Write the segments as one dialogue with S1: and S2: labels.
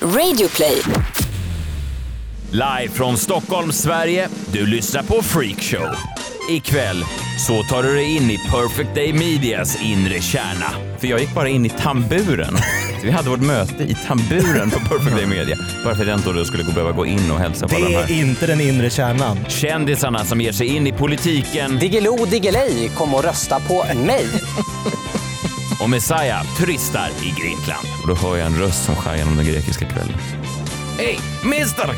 S1: Radioplay.
S2: Live från Stockholm, Sverige. Du lyssnar på Freakshow. Ikväll så tar du dig in i Perfect Day Medias inre kärna.
S3: För jag gick bara in i tamburen. Så vi hade vårt möte i tamburen på Perfect Day Media. Bara för att jag inte då skulle gå- behöva gå in och hälsa på alla de
S4: Det är
S3: här.
S4: inte den inre kärnan.
S2: Kändisarna som ger sig in i politiken
S5: Diggiloo Diggiley, kom och rösta på mig.
S2: och Messiah turistar i Grekland.
S3: Och då hör jag en röst som skär genom den grekiska kvällen. Hey, mister!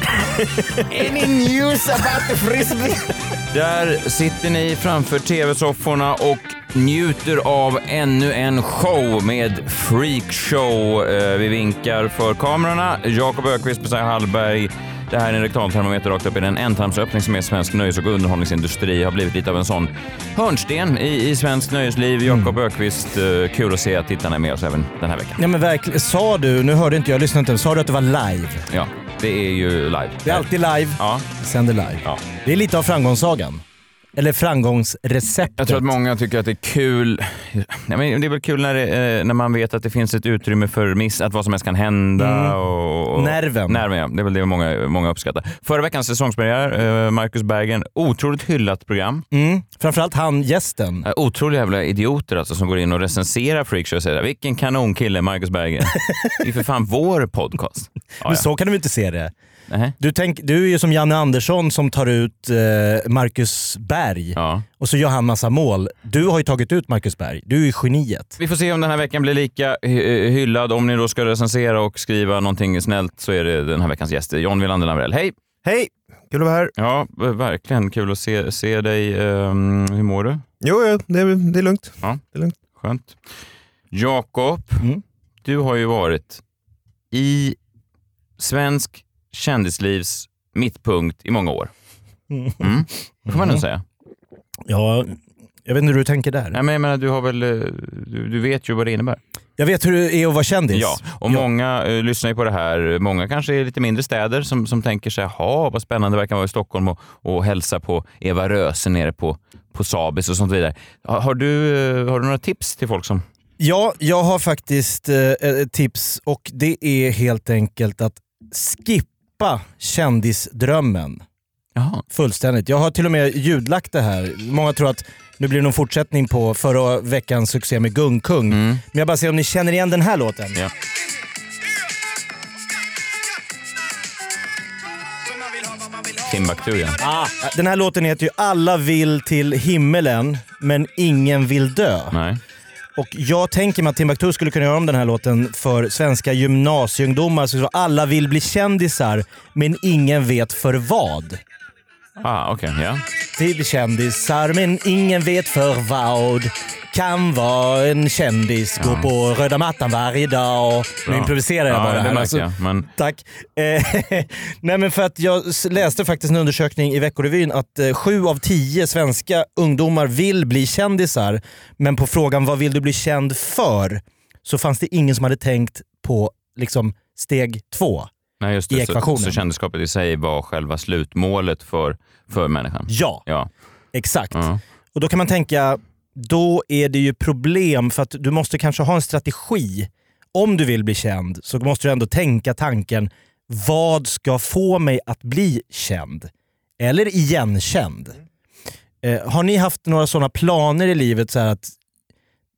S3: Any news about the frisbee? Där sitter ni framför tv-sofforna och njuter av ännu en show med Freakshow. Eh, Vi vinkar för kamerorna. Jakob Ökvist, Messiah Hallberg. Det här är en reklamtermometer rakt upp i den ändtarmsöppning som är svensk nöjes och underhållningsindustri. Har blivit lite av en sån hörnsten i, i svensk nöjesliv. Jakob Ökvist, eh, kul att se att tittarna är med oss även den här veckan.
S4: Nej men verkligen, sa du, nu hörde inte jag, lyssnade inte, sa du att det var live?
S3: Ja, det är ju live.
S4: Det är alltid live,
S3: Ja.
S4: vi sänder live.
S3: Ja.
S4: Det är lite av framgångssagan. Eller framgångsreceptet.
S3: Jag tror att många tycker att det är kul. Nej, men det är väl kul när, det, eh, när man vet att det finns ett utrymme för miss, att vad som helst kan hända.
S4: Mm.
S3: Och, och,
S4: Nerven.
S3: Nerven, ja. Det är väl det många, många uppskattar. Förra veckans säsongspremiär, eh, Marcus Bergen. Otroligt hyllat program.
S4: Mm. Framförallt han, gästen.
S3: Eh, Otroliga jävla idioter alltså som går in och recenserar freakshow och säger “Vilken kanonkille, Marcus Bergen. Det är för fan vår podcast.” Ja, ja.
S4: Men så kan de ju inte se det.
S3: Nähä.
S4: Du, tänk, du är ju som Janne Andersson som tar ut eh, Marcus Berg
S3: ja.
S4: och så gör han massa mål. Du har ju tagit ut Marcus Berg. Du är ju geniet.
S3: Vi får se om den här veckan blir lika hy- eh, hyllad. Om ni då ska recensera och skriva någonting snällt så är det den här veckans gäst, John Wilander Lamrell. Hej!
S6: Hej! Kul att vara här.
S3: Ja, v- verkligen kul att se, se dig. Ehm, hur mår du?
S6: Jo, jo det, är, det är lugnt.
S3: Skönt. Jakob,
S4: Mm.
S3: du har ju varit i svensk kändislivs mittpunkt i många år.
S4: Mm.
S3: Mm. Det får man nog säga.
S4: Ja, jag vet inte hur du tänker där.
S3: Nej, men jag menar, du, har väl, eh, du, du vet ju vad det innebär.
S4: Jag vet hur det är att vara kändis.
S3: Ja, och många eh, lyssnar ju på det här. Många kanske är lite mindre städer som, som tänker sig, ha vad spännande det verkar vara i Stockholm och, och hälsa på Eva Röse nere på, på Sabis och sånt vidare. Har, har, du, eh, har du några tips till folk som...
S4: Ja, jag har faktiskt eh, ett tips och det är helt enkelt att skippa kändisdrömmen
S3: Jaha.
S4: fullständigt. Jag har till och med ljudlagt det här. Många tror att nu blir det någon fortsättning på förra veckans succé med Gungkung. Men jag bara ser om ni känner igen den här låten.
S3: Ja. Timbuktu ja.
S4: Ah, den här låten heter ju “Alla vill till himmelen, men ingen vill dö”.
S3: Nej.
S4: Och jag tänker mig att Timbuktu skulle kunna göra om den här låten för svenska gymnasieungdomar. Så att alla vill bli kändisar, men ingen vet för vad.
S3: Ah, okej. Ja.
S4: Vi blir kändisar, men ingen vet för vad. Kan vara en kändis, gå på röda mattan varje dag. Och... Nu
S3: Bra.
S4: improviserar jag
S3: Ja,
S4: bara.
S3: det
S4: här,
S3: märker
S4: alltså.
S3: jag. Men,
S4: Tack. Eh, Nej, men för att jag s- läste faktiskt en undersökning i Veckorevyn att eh, sju av tio svenska ungdomar vill bli kändisar. Men på frågan vad vill du bli känd för? Så fanns det ingen som hade tänkt på liksom, steg två.
S3: nej, just
S4: I
S3: det. Så,
S4: ekvationen.
S3: så kändisskapet i sig var själva slutmålet för, för människan.
S4: Ja,
S3: Ja.
S4: exakt.
S3: Ja.
S4: Och då kan man tänka, då är det ju problem för att du måste kanske ha en strategi. Om du vill bli känd så måste du ändå tänka tanken, vad ska få mig att bli känd? Eller igenkänd? Eh, har ni haft några sådana planer i livet? Så här att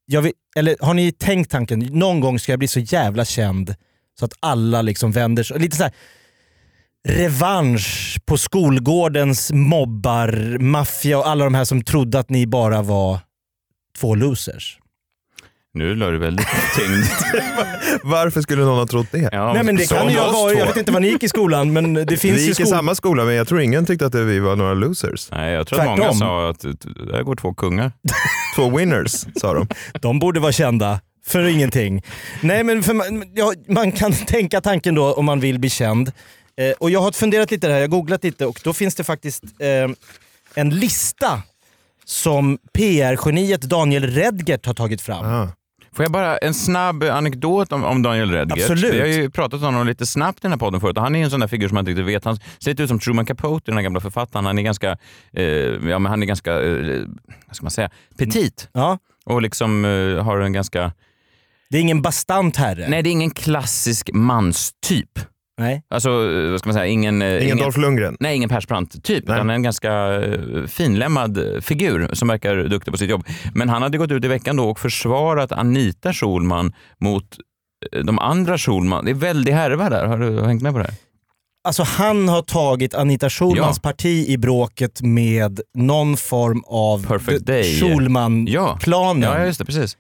S4: jag vill, eller har ni tänkt tanken, någon gång ska jag bli så jävla känd så att alla liksom vänder sig. Lite så här, revansch på skolgårdens mobbar, maffia och alla de här som trodde att ni bara var två losers.
S3: Nu la du väldigt tyngd.
S6: Varför skulle någon ha trott det?
S3: Ja,
S4: Nej men det
S3: som
S4: kan ju
S3: oss
S4: vara, jag
S3: två.
S4: vet inte vad ni gick i skolan men det finns
S6: Vi
S4: ju
S6: gick i
S4: skol...
S6: samma skola, men jag tror ingen tyckte att vi var några losers.
S3: Nej, jag tror att många
S4: Tvärtom.
S3: sa att ut- där går två kungar.
S6: Två winners, sa de.
S4: De borde vara kända för ingenting. Nej men för man, ja, man kan tänka tanken då om man vill bli känd. Eh, och jag har funderat lite där, jag har googlat lite och då finns det faktiskt eh, en lista som PR-geniet Daniel Redgert har tagit fram.
S6: Ah.
S3: Får jag bara en snabb anekdot om, om Daniel Redgert?
S4: Absolut.
S3: Vi har ju pratat om honom lite snabbt i den här podden förut och han är en sån där figur som man inte riktigt vet. Han ser lite ut som Truman Capote, den här gamla författaren. Han är ganska, eh, ja, men han är ganska eh, vad ska man säga, petit
S4: Ja.
S3: och liksom eh, har en ganska...
S4: Det är ingen bastant herre.
S3: Nej, det är ingen klassisk manstyp.
S4: Nej.
S3: Alltså, eh, vad ska man säga, ingen... eh,
S6: Ingen Dolph Lundgren.
S3: Nej, ingen Persbrandt-typ,
S6: Nej.
S3: utan en ganska eh, finlämmad eh, figur som verkar duktig på sitt jobb. Men han hade gått ut i veckan då och försvarat Anita Schulman mot eh, de andra Schulman. Det är väldigt härva där. Har du hängt med på det här?
S4: Alltså han har tagit Anita Schulmans
S3: Ja.
S4: parti i bråket med någon form av
S3: Perfect
S4: d-
S3: Day. Ja.
S4: Schulman-planen.
S3: Ja, just det. Precis.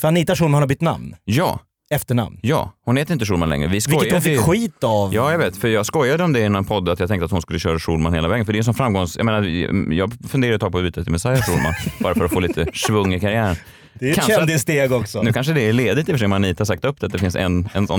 S4: För Anita Schulman har bytt namn,
S3: Ja,
S4: efternamn.
S3: ja. Hon heter inte Schulman längre. Vi
S4: Vilket hon
S3: skojade ju-
S4: fick skit av.
S3: Ja, jag vet. För jag skojade om det i någon podd att jag tänkte att hon skulle köra Schulman hela vägen. För det är en sån framgångs... Jag menar, jag funderar ett tag på att byta till Messiah Schulman. bara för att få lite svung i karriären.
S4: det är ett
S3: Kanske att-
S4: kändissteg också.
S3: Nu kanske det är ledigt i och för sig, om Anita har sagt upp det, att det finns en, en sån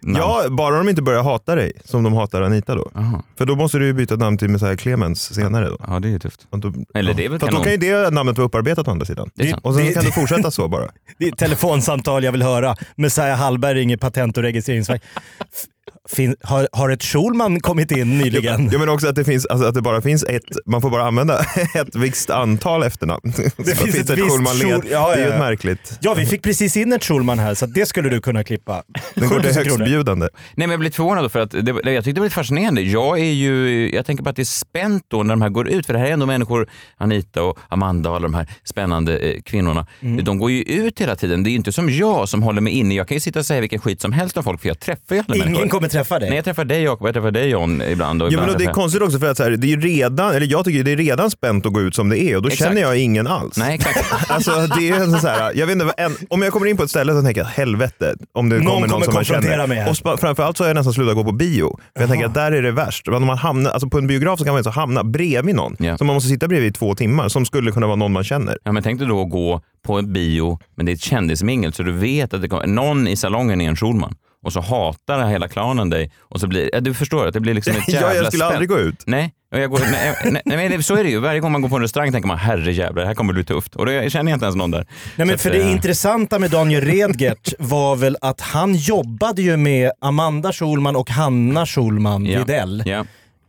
S3: namn.
S6: Ja, bara de inte börjar hata dig som de hatar Anita då.
S3: Aha.
S6: För då måste du ju byta namn till Messiah Clemens senare. Då.
S3: Ja, det är ju tufft.
S6: Och då
S3: Eller det är väl
S6: Fast då
S3: kanon.
S6: kan ju det namnet vara upparbetat å andra sidan.
S3: Det är sant.
S6: Och sen
S4: Det-
S6: kan du fortsätta så bara.
S4: Det är ett telefonsamtal jag vill höra. Messiah Hallberg ringer Patent och registreringsverket. F- fin- har, har ett Schulman kommit in nyligen?
S6: Jag menar också att det, finns, alltså att det bara finns ett, man får bara använda ett visst antal efternamn. Det
S4: finns ett visst
S6: Schulman-led.
S4: Schul- ja,
S6: Det
S4: ja,
S6: är ju
S4: ja.
S6: ett märkligt.
S4: Ja, vi fick precis in ett Schulman här, så att det skulle du kunna klippa.
S6: Den går
S4: 7
S6: till
S4: 000 kronor.
S6: högstbjudande.
S3: Nej, men jag blev lite förvånad då för att det, eller jag tyckte det var lite fascinerande. Jag är ju, jag tänker på att det är spänt då när de här går ut, för det här är ändå människor, Anita och Amanda och alla de här spännande eh, kvinnorna.
S6: Mm.
S3: De går ju ut hela tiden. Det är ju inte som jag som håller mig inne. Jag kan ju sitta och säga vilken skit som helst om folk, för jag träffar ju alla människor.
S4: Ingen kommer träffa dig.
S3: Nej, jag träffar dig Jakob, jag träffar dig John ibland. Och
S6: Ja,
S3: ibland
S6: men och det är
S3: träffar jag-
S6: konstigt också för att så här, det är ju redan, eller jag tycker det är redan spänt att gå ut som det är och då
S3: Exakt.
S6: känner jag ingen alls.
S3: Nej, exakt.
S6: Alltså, det är en så här, jag vet inte, vad en, om jag kommer in på ett ställe så tänker jag helvete om det
S4: Någon
S6: kommer någon
S4: kommer
S6: som man
S4: konfrontera
S6: känner.
S4: mig här.
S6: Och spa- framförallt så har jag nästan slutat gå på bio. För jag tänker att där är det värst. Men om man hamnar, alltså på en biograf så kan man ju så hamna bredvid någon
S3: Ja.
S6: som man måste sitta bredvid i två timmar som skulle kunna vara någon man känner.
S3: Ja, men tänk dig då att gå på en bio, men det är ett kändismingel, så du vet att det kommer, någon i salongen är en Schulman och så hatar hela klanen dig och så blir ja, du förstår att det blir liksom ett jävla
S6: Ja, jag skulle
S3: spänn.
S6: aldrig gå ut.
S3: Nej, och jag går, nej, nej, nej, men så är det ju. Varje gång man går på en restaurang tänker man herrejävlar, det här kommer bli tufft. Och då känner jag inte ens någon där.
S4: Nej, men
S3: Så
S4: för
S3: att,
S4: det
S3: eh,
S4: intressanta med Daniel Redgert var väl att han jobbade ju med Amanda Schulman och Hanna Schulman
S3: ja,
S4: Widell.
S3: Ja.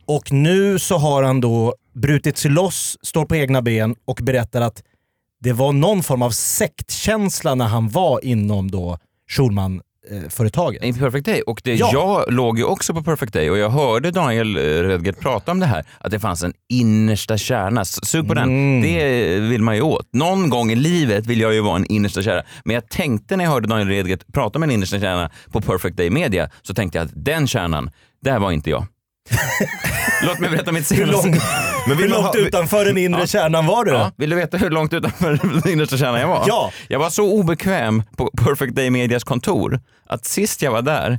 S4: Och nu så har han då brutit sig loss, står på egna ben och berättar att det var någon form av sektkänsla när han var inom då Schulman-företaget.
S3: Inte Perfect Day. Och det,
S4: Alltså. Ja.
S3: jag låg ju också på Perfect Day och jag hörde Daniel eh, Redgert prata om det här, att det fanns en innersta kärna. S- Sug på
S4: Mm.
S3: den. Det eh, vill man ju åt. Någon gång i livet vill jag ju vara en innersta kärna. Men jag tänkte när jag hörde Daniel Redgert prata om en innersta kärna på Perfect Day Media, så tänkte jag att den kärnan, där var inte jag. Låt mig berätta mitt
S4: Hur
S3: senaste...
S4: långt,
S6: Men
S4: hur
S6: vill man
S4: långt
S6: ha-
S4: utanför den inre kärnan var du?
S3: Ja, vill du veta hur långt utanför den innersta kärnan jag var?
S4: Ja.
S3: Jag var så obekväm på Perfect Day Medias kontor att sist jag var där,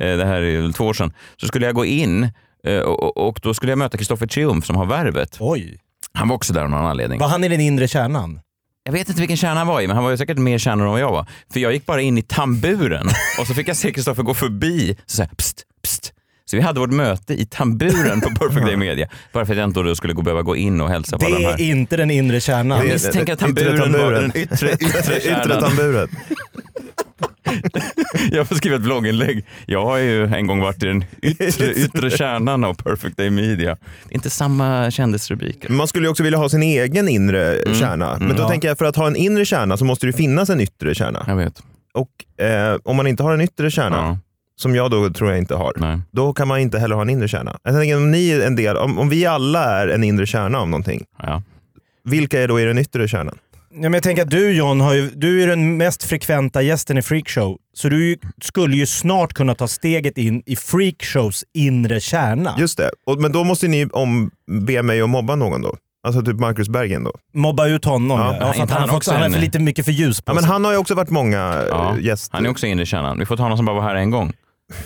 S3: eh, det här är väl två år sedan, så skulle jag gå in eh, och, och då skulle jag möta Kristoffer Triumf som har Värvet.
S4: Oj.
S3: Han var också där av någon anledning.
S4: Var han i den inre kärnan?
S3: Jag vet inte vilken kärna han var i, men han var ju säkert mer kärnor än vad jag var. För jag gick bara in i tamburen och så fick jag se Kristoffer gå förbi och säga pst, pst. Så vi hade vårt möte i tamburen på Perfect Day Media. Bara för att jag inte då skulle gå- behöva gå in och hälsa på alla
S4: Det
S3: de här.
S4: är inte den inre kärnan.
S6: Det
S3: Jag
S6: är-
S3: misstänker att
S6: yttre
S3: tamburen, var
S6: tamburen.
S3: den yttre, yttre,
S6: Yttre
S3: kärnan.
S6: tamburen.
S3: Jag får skriva ett blogginlägg. Jag har ju en gång varit i den yttre, yttre kärnan av Perfect Day Media. Det är inte samma kändisrubriker.
S6: Man skulle ju också vilja ha sin egen inre
S3: Mm.
S6: kärna. Men då tänker jag för att ha en inre kärna så måste det ju finnas en yttre kärna.
S3: Jag vet.
S6: Och eh, om man inte har en yttre kärna,
S3: Ja,
S6: som jag då tror jag inte har,
S3: nej.
S6: då kan man inte heller ha en inre kärna. Jag tänker, om, ni är en del, om, om vi alla är en inre kärna av någonting,
S3: Ja.
S6: vilka är då i den yttre kärnan?
S4: Ja, men jag tänker att du John, har ju, du är den mest frekventa gästen i Freakshow. Så du ju- skulle ju snart kunna ta steget in i Freakshows inre kärna.
S6: Just det, och, men då måste ni om, be mig att mobba någon då. Alltså typ Marcus Bergen då.
S4: Mobba ut honom.
S6: Ja,
S3: men
S4: Ja, för att
S3: inte han
S4: han, har fått,
S3: också
S4: han har
S3: en-
S4: för lite mycket för ljus på
S6: Ja, men
S4: sig.
S6: han har ju också varit många eh,
S3: Ja.
S6: ja. gäster.
S3: Han är också inne i kärnan. Vi får ta någon som bara var här en gång.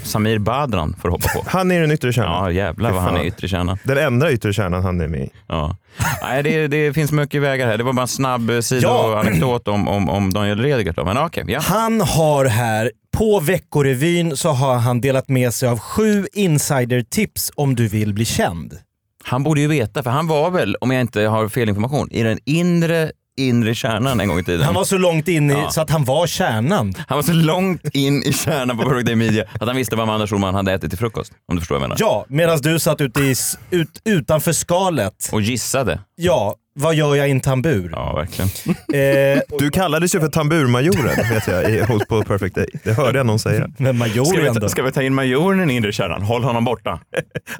S3: Samir Badran får hoppa på.
S6: Han är den yttre kärnan.
S3: Ja, jävlar vad han är
S6: Fan.
S3: yttre kärnan.
S6: Den enda yttre kärnan han är med i.
S3: Ja. Nej, det, det finns mycket vägar här. Det var bara en snabb eh,
S4: Ja.
S3: sidoanekdot om, om, om Daniel Redgert. då. Men ja, okej, ja.
S4: Han har här, på Veckorevyn så har han delat med sig av sju insidertips om du vill bli känd.
S3: Han borde ju veta, för han var väl, om jag inte har fel information, i den inre, inre kärnan en gång i tiden.
S4: Han var så långt inne i-
S3: Ja.
S4: så att han var kärnan.
S3: Han var så långt in i kärnan på Perfect Day Media att han visste vad Amanda Schulman hade ätit till frukost. Om du förstår vad jag menar.
S4: Ja, medan du satt ute i, s- ut, utanför skalet.
S3: Och gissade.
S4: Ja, Vad gör jag i en tambur?
S3: Ja, verkligen.
S4: Eh,
S6: Du kallades ju för tamburmajoren vet jag, i, hos- på Perfect Day. Det hörde jag någon säga.
S4: men
S3: Ska vi,
S4: majoren
S3: ta,
S4: då?
S3: ska vi ta in majoren i den inre kärnan? Håll honom borta.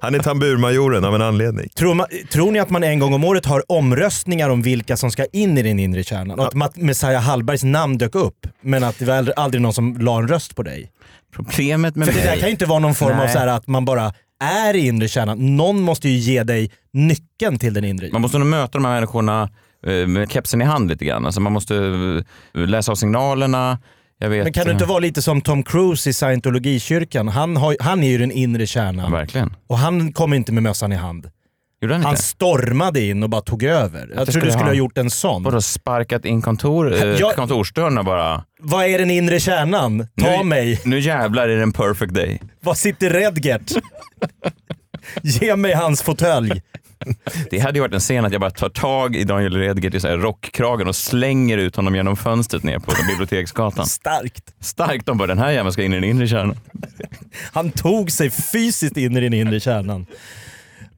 S6: Han är tamburmajoren av en anledning.
S4: Tror, man, tror ni att man en gång om året har omröstningar om vilka som ska in i den inre kärnan? Och att Matt- Messiah Hallbergs namn dök upp, men att det var aldrig- aldrig någon som la en röst på dig?
S3: Problemet med
S4: För det där kan ju inte vara någon form av
S3: Nej.
S4: så här att man bara är i inre kärnan. Någon måste ju ge dig nyckeln till den inre.
S3: Man måste nog möta de här människorna eh, med kepsen i hand lite grann. Alltså man måste eh, läsa av signalerna. Jag vet,
S4: Men kan du inte vara lite som Tom Cruise i scientologikyrkan? Han, har, han är ju den inre
S3: Ja, Mm.
S4: kärnan
S3: verkligen.
S4: och han kom inte med mössan i hand.
S3: Gjorde han inte?
S4: Han stormade in och bara tog över. Jag tror
S3: skulle
S4: du skulle
S3: ha-
S4: ha gjort en sån.
S3: Vadå, sparkat in kontor, eh,
S4: Jag-
S3: kontorsdörren och bara...
S4: Vad är den inre kärnan? Ta
S3: nu,
S4: mig!
S3: Nu jävlar är det en perfect day.
S4: Var sitter Redgert? Ge mig hans fåtölj.
S3: Det hade ju varit en scen att jag bara tar tag i Daniel Redgert i så här rockkragen och slänger ut honom genom fönstret ner på Biblioteksgatan.
S4: Starkt.
S3: Starkt om bara den här jäveln ska in i den inre kärnan.
S4: Han tog sig fysiskt in i den inre kärnan.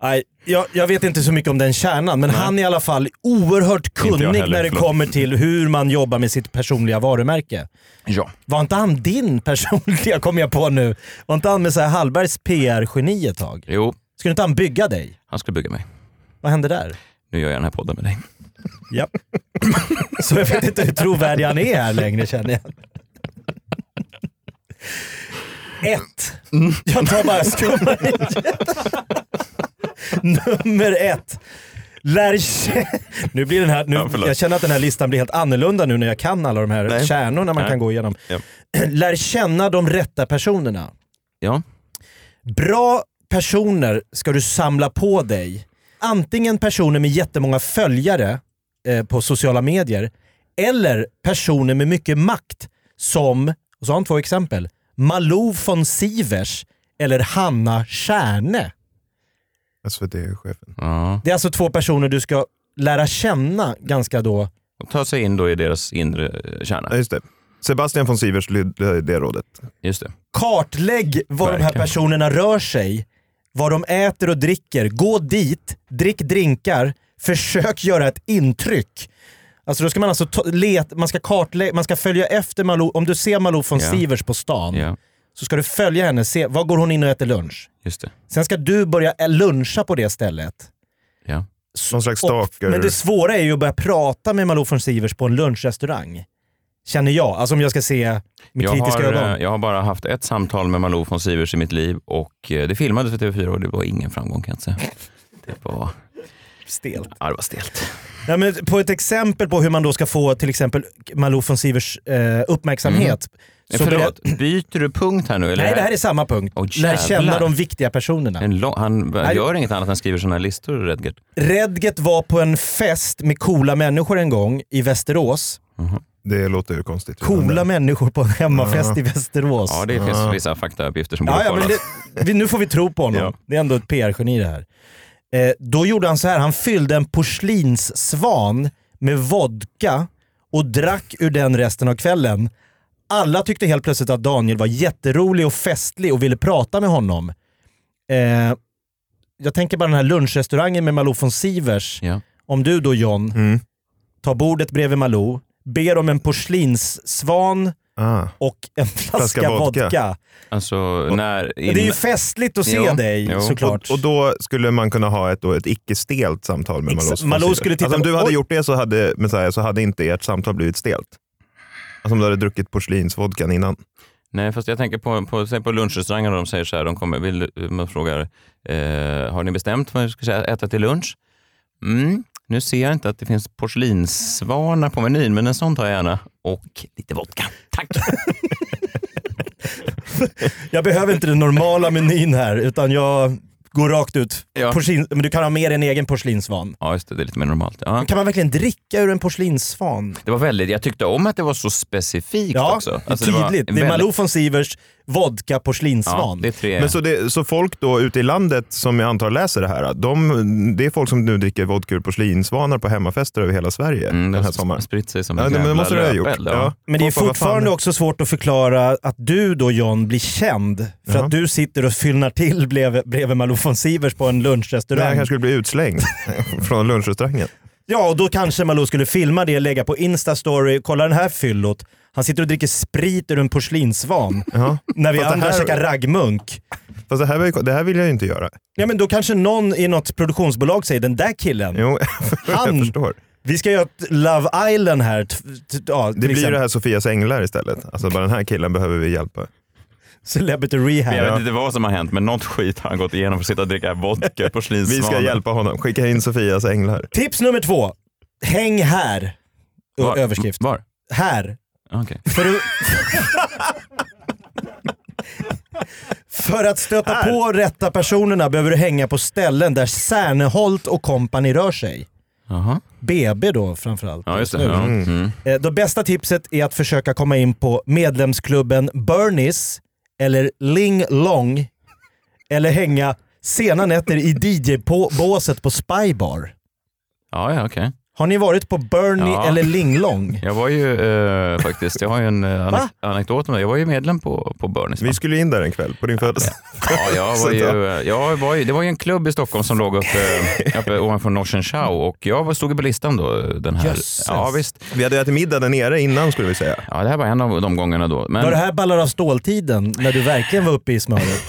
S4: Nej, jag, jag vet inte så mycket om den kärnan, men han är i alla fall oerhört
S3: jag
S4: kunnig
S3: heller,
S4: när det
S3: förlåt.
S4: kommer till hur man jobbar med sitt personliga varumärke.
S3: Ja.
S4: Var inte han din personliga, kom jag på nu, var inte han med så här Hallbergs PR-geni ett tag?
S3: Jo,
S4: Skulle inte han bygga dig?
S3: han skulle bygga mig.
S4: Vad hände där?
S3: Nu gör jag den här podden med dig.
S4: Ja. Så jag vet inte hur trovärdig han är här längre känner jag. Ett. Jag tar bara skummar igen. Nummer ett. Lär kä- nu blir den här, nu,
S3: Ja, förlåt.
S4: Jag känner att den här listan blir helt annorlunda nu när jag kan alla de här
S3: Nej.
S4: kärnorna man
S3: Nej.
S4: kan gå igenom.
S3: Ja.
S4: Lär känna de rätta personerna.
S3: Ja.
S4: Bra personer ska du samla på dig. Antingen personer med jättemånga följare eh, på sociala medier eller personer med mycket makt som, och så har han två exempel, Malou von Sivers eller Hanna Stjärne. Alltså,
S6: SVT-chefen.
S3: ja.
S4: Det är alltså två personer du ska lära känna ganska då.
S3: Och ta sig in då i deras inre eh, kärna.
S6: Ja, just det. Sebastian von Sivers lydde det rådet.
S3: Just det.
S4: Kartlägg var de här
S3: Verkligen.
S4: personerna rör sig, vad de äter och dricker. Gå dit, drick drinkar, försök göra ett intryck. Alltså då ska man alltså ta- let, man ska kartlägga, man ska följa efter Malou. Om du ser Malou von
S3: Ja.
S4: Sivers på stan
S3: Ja,
S4: så ska du följa henne, se var går hon in och äter lunch.
S3: just det.
S4: Sen ska du börja ä- luncha på det stället.
S3: Ja.
S6: Någon slags
S4: Och,
S6: stalker.
S4: men det svåra är ju att börja prata med Malou von Sivers på en lunchrestaurang. Känner jag. Alltså om jag ska se med
S3: Jag
S4: kritiska
S3: har,
S4: ögon.
S3: eh, jag har bara haft ett samtal med Malou von Sivers i mitt liv och eh, det filmades för TV4 och det var ingen framgång kan jag inte säga. Det var,
S4: Stelt.
S3: ja, det var stelt.
S4: Ja, men på ett exempel på hur man då ska få till exempel Malou von Sivers eh, uppmärksamhet.
S3: Så
S4: Så
S3: Mm. Förlåt,
S4: berä-
S3: byter du punkt här nu? Eller?
S4: Nej, det här är samma punkt.
S3: Åh,
S4: Lär
S3: jävlar.
S4: känna de viktiga personerna.
S3: en lång, han
S4: det-
S3: gör inget annat än skriver såna här listor, Redgert.
S4: Redget var på en fest med coola människor en gång i Västerås.
S6: Det låter ju konstigt.
S4: Coola människor på en hemmafest i Västerås.
S3: Ja, det finns vissa faktauppgifter som
S4: Ah. Ja,
S3: borde
S4: ja, men
S3: kollas.
S4: det, vi, nu får vi tro på honom.
S3: Ja.
S4: Det är ändå ett PR-geni det här. Eh, då gjorde han så här, han fyllde en porslinssvan med vodka och drack ur den resten av kvällen. Alla tyckte helt plötsligt att Daniel var jätterolig och festlig och ville prata med honom. Eh, jag tänker bara den här lunchrestaurangen med Malou von Sivers.
S3: Ja.
S4: Om du då John,
S6: Mm.
S4: tar bordet bredvid Malou, ber om en porslinssvan
S6: Ah.
S4: och en flaska,
S6: vodka.
S4: vodka.
S3: Alltså, när...
S4: Ja,
S3: In...
S4: Det är ju festligt att se
S3: Jo,
S4: dig
S3: jo.
S4: såklart.
S6: Och, och då skulle man kunna ha ett, då, ett icke-stelt samtal med
S4: Exakt.
S6: Malou. von
S4: Malou
S6: Sivers.
S4: skulle titta
S6: alltså, om
S4: på-
S6: du hade
S4: Oj.
S6: gjort det så hade, Messiah, så hade inte ert samtal blivit stelt. Alltså om du hade druckit porslinsvodkan innan.
S3: Nej, fast jag tänker på, på, säg på lunchrestaurangen och de säger så här, de kommer, vill, du- man frågar, eh, har ni bestämt vad ni ska säga- äta till lunch? Mm, nu ser jag inte att det finns porslinssvanar på menyn, men en sån tar jag gärna. Och lite vodka. Tack!
S4: Jag behöver inte den normala menyn här utan jag går rakt ut.
S3: Ja.
S4: Porslin, men du kan ha med dig en egen porslinsvan.
S3: Ja, just det, det är lite mer normalt. Ja.
S4: Kan man verkligen dricka ur en porslinsvan?
S3: Det var väldigt, jag tyckte om att det var så specifikt
S4: Ja,
S3: också. Alltså,
S4: det är tydligt. Det,
S3: var
S4: är
S3: väldigt-
S4: Malou von Sivers vodka
S3: Ja,
S4: porslinsvan.
S3: det är tre.
S6: Men så, det, så folk då ute i landet som jag antar läser det här, de, det är folk som nu dricker vodka ur porslinsvanar på hemmafester över hela Sverige
S3: Mm,
S6: den här
S3: har
S6: sommaren.
S3: spritt sig som
S6: Ja,
S3: en
S6: men det
S3: jävla
S6: måste du ha gjort.
S3: löpeld,
S6: Ja.
S4: Men det är
S6: Folk bara, vad fan
S4: fortfarande också svårt att förklara att du då John blir känd för
S6: Ja.
S4: att du sitter och fyllnar till bredvid, bredvid Malou von Sivers på en
S6: Nej, jag
S4: lunchrestaurang.
S6: kanske skulle bli utslängd från lunchrestaurangen.
S4: Ja, och då kanske Malou skulle filma det, lägga på Insta-story. Kolla den här fyllot. Han sitter och dricker sprit ur en porslinsvan.
S6: Ja.
S4: När vi
S6: Fast det
S4: andra
S6: här-
S4: käkar raggmunk.
S6: Fast det här, var ju, det här vill jag ju inte göra.
S4: Ja, men då kanske någon i något produktionsbolag säger den där killen.
S6: Jo, jag
S4: Han-
S6: förstår.
S4: Vi ska göra ett Love Island här. t- t- Ja,
S6: Det blir ju
S4: liksom
S6: det här Sofias änglar istället. Alltså bara den här killen behöver vi hjälpa.
S4: Celebrity
S3: Jag
S4: Rehab.
S3: vet inte vad som har hänt, men något skit har han gått igenom för att sitta och dricka vodka på
S6: Vi ska hjälpa honom. Skicka in Sofias änglar.
S4: Tips nummer två. Häng här. Ö-
S3: Var?
S4: Överskrift.
S3: Var?
S4: Här.
S3: Okej.
S4: För att, för att stöta på rätta personerna behöver du hänga på ställen där Serneholt och kompani rör sig.
S3: Jaha.
S4: BB då framförallt.
S3: Ja, just det. Ja. Mm.
S4: Eh, Det bästa tipset är att försöka komma in på medlemsklubben Bernies eller Ling Long eller hänga sena nätter i DJ-båset på Spybar.
S3: Ja, ja, okej.
S4: Har ni varit på Bernie
S3: Ja.
S4: eller Ling Long?
S3: Jag var ju eh, faktiskt, jag har ju en eh, anek-
S4: Va?
S3: anekdot om det. Jag var ju medlem på, på Burnies.
S6: Vi skulle in där en kväll på din födelsedag.
S3: Ja, jag var ju, eh, jag var ju, det var ju en klubb i Stockholm som låg uppe, uppe ovanför Norsen Chow och jag var, stod ju på listan då. eh, Den här.
S4: Jösses.
S3: Ja, visst.
S6: Vi hade ätit middag där nere innan skulle vi säga.
S3: Ja, det här var en av de gångerna då. Men,
S4: Var det här ballar av ståltiden när du verkligen var uppe i smöret?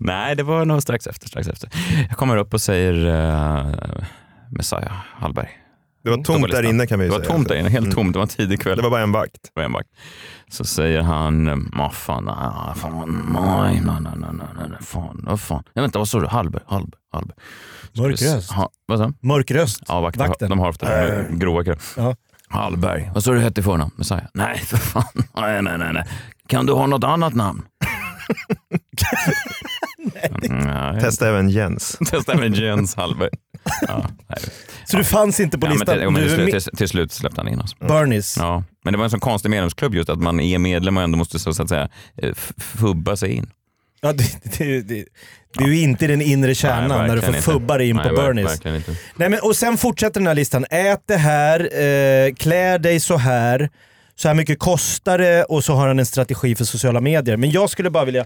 S3: Nej, det var nog strax efter. Strax efter. Jag kommer upp och säger eh, Messiah Hallberg.
S6: Det var tomt där inne kan vi
S3: Mm. Det
S6: ju
S3: var
S6: säga. Mm.
S3: tomt där inne, helt tomt. Det var en tidig kväll.
S6: Det var bara en vakt.
S3: på en vakt. Så säger han, vad fan, ah, fan, nej, nej, nej, nej, nej, nej, nej, fan, vad fan. Nej, vänta, vad sa du? Hallberg, Hallberg, Hallberg.
S4: Mörk röst.
S3: Ha, vad sa han?
S4: Mörk röst.
S3: Ja, vakten.
S4: Vakten.
S3: De har ofta de här
S6: Äh.
S3: grova krav.
S4: Ja.
S3: Hallberg. Vad sa du hette i förnamn? Messiah. Nej, för fan. Nej, nej, nej, nej. Kan du ha något annat namn? Mm, nej.
S6: Testa även Jens.
S3: Testa med Jens Hallberg. Ja, nej.
S4: Så du fanns inte på
S3: Ja, men
S4: listan?
S3: till, men till,
S4: du är
S3: slut,
S4: med-
S3: till, till slut släppte han in oss.
S4: Bernies.
S3: Ja. Men det var en sån konstig medlemsklubb just att man är medlem och ändå måste så att säga eh, f- fubba sig in.
S4: Ja, det, det, det, det är ju inte i den inre kärnan
S3: Nej,
S4: när du får
S3: verkligen inte.
S4: fubba dig in
S3: Nej,
S4: på
S3: ver-
S4: Bernies.
S3: verkligen inte.
S4: Nej, men, och sen fortsätter den här listan. Ät det här, eh, klä dig så här, så här mycket kostar det och så har han en strategi för sociala medier. Men jag skulle bara vilja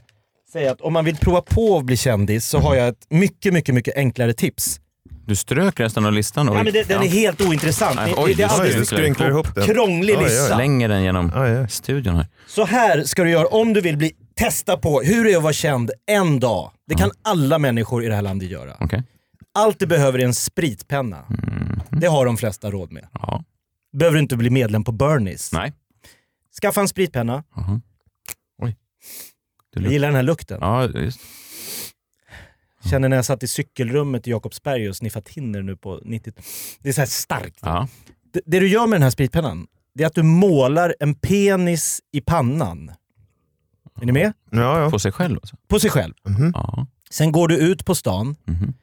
S4: säga att om man vill prova på att bli kändis så har jag ett mycket, mycket, mycket enklare tips.
S3: Du strök resten av listan. Och,
S4: Ja, men det, den är helt ointressant.
S3: Nej,
S4: Det-
S3: oj,
S4: det är
S3: just
S6: Oj,
S4: alldeles
S3: det.
S6: du skrynklar ihop den.
S4: krånglig
S6: Oj, oj.
S4: lista.
S3: Slänger den genom
S6: Oj, oj.
S3: studion här.
S4: Så här ska du göra om du vill bli testa på hur det är att vara känd en dag. Det kan
S3: Mm.
S4: alla människor i det här landet göra.
S3: Okej.
S4: Allt du behöver är en spritpenna. Det har de flesta råd med.
S3: Mm. Ja.
S4: Behöver du inte bli medlem på Bernies.
S3: Nej.
S4: Skaffa en spritpenna.
S3: Aha. Oj. Det
S4: Jag
S3: luktar-
S4: gillar den här lukten.
S3: Ja, just.
S4: Känner när jag satt i cykelrummet i Jakobsberg och sniffade thinner nu på 90 Det är så här starkt.
S3: Ja.
S4: Det, det du gör med den här spritpennan, det är att du målar en penis i pannan. Är ni med?
S6: Ja, ja.
S3: På sig själv alltså?
S4: På sig själv.
S3: Ja.
S4: Sen går du ut på stan.
S3: Mhm.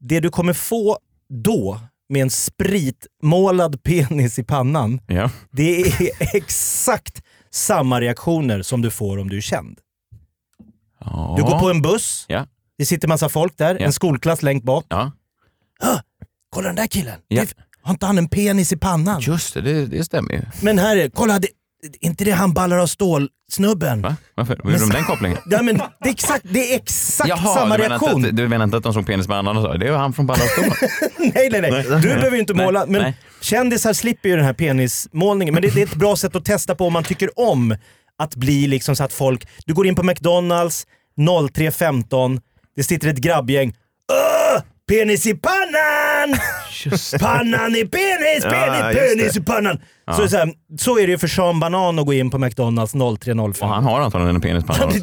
S4: Det du kommer få då med en spritmålad penis i pannan,
S3: ja.
S4: det är exakt samma reaktioner som du får om du är känd.
S3: ja.
S4: Du går på en buss,
S3: Ja.
S4: det sitter massa folk där,
S3: Ja.
S4: en skolklass längst bak.
S3: Ja,
S4: Kolla den där killen!
S3: Ja.
S4: Det- Har inte han en penis i pannan?
S3: just det. Det, det stämmer ju.
S4: Men här är, kolla, det, det- inte det han ballar av stål-snubben?
S3: Va? Varför? Hur gjorde de den kopplingen?
S4: Ja, men det, är exakt, det är exakt
S3: Jaha,
S4: samma
S3: du menar,
S4: reaktion.
S3: inte, att- du menar inte att de såg penis med annan och sa det var han från Ballaston?
S4: Nej, nej, nej. Du behöver ju inte måla. men
S3: nej.
S4: kändisar slipper ju den här penismålningen. Men det, det är ett bra sätt att testa på om man tycker om att bli liksom så att folk... Du går in på McDonalds 03.15, det sitter ett grabbgäng. Åh! Penis i pannan! Pannan i penis, penis,
S6: Ja, just
S4: penis i pannan! Så, är det så, här, så är det ju för Sean Banan att gå in på McDonalds
S3: Och
S4: 03.05.
S3: han har antagligen en penis på annan.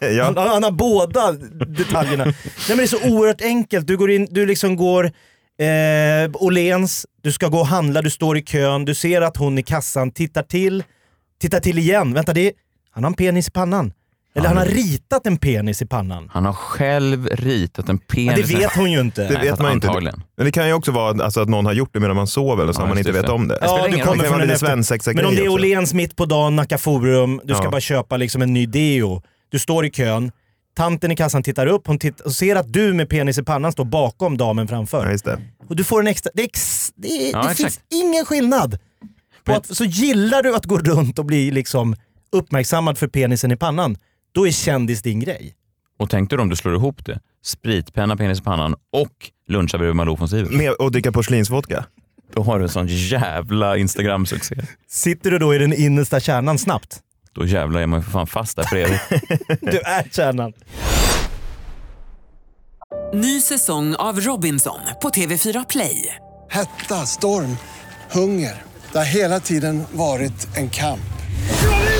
S4: Han,
S6: ja.
S4: han har båda detaljerna. Nej, men det är så oerhört enkelt. Du går in, du liksom går eh, Åhléns, du ska gå och handla, du står i kön, du ser att hon i kassan tittar till, tittar till igen. Vänta, det är, han har en penis i pannan. Eller han har ritat en penis i pannan.
S3: Han har själv ritat en
S4: Men det
S3: penis.
S4: vet hon ju
S6: Det
S4: inte.
S3: Nej,
S6: vet man ju inte.
S3: antagligen.
S6: Men det kan ju också vara alltså, att någon har gjort det medan man sover eller så
S3: Ja,
S6: man
S3: just
S6: inte vet
S3: det.
S6: om det.
S3: Ja, spelar
S4: du
S3: ingen roll.
S6: det
S4: kommer
S6: kan
S4: från
S6: vara
S4: en
S6: lite
S4: efter-
S6: svensexa
S4: Men om det är Åhléns mitt på dagen, Nacka Forum, du ska
S6: Ja.
S4: bara köpa liksom en ny deo. Du står i kön, tanten i kassan tittar upp, hon titt- och ser att du med penis i pannan står bakom damen framför.
S6: Ja, just det.
S4: Och du får en extra... Det, är ex, det, är-
S3: Ja,
S4: det
S3: exakt.
S4: finns ingen skillnad. På
S3: Men-
S4: att, så gillar du att gå runt och bli liksom uppmärksammad för penisen i pannan, då är kändis din grej.
S3: Och tänk dig då om du slår ihop det. Spritpenna, penis i pannan och luncha bredvid Malou von Sivers.
S6: Med och dricka porslinsvodka.
S3: Då har du en sån jävla Instagram-succé.
S4: Sitter du då i den innersta kärnan snabbt?
S3: Då jävlar är man ju för fan fast där för evigt.
S4: Du är kärnan.
S1: Ny säsong av Robinson på TV4 Play.
S7: Hetta, storm, hunger. Det har hela tiden varit en kamp.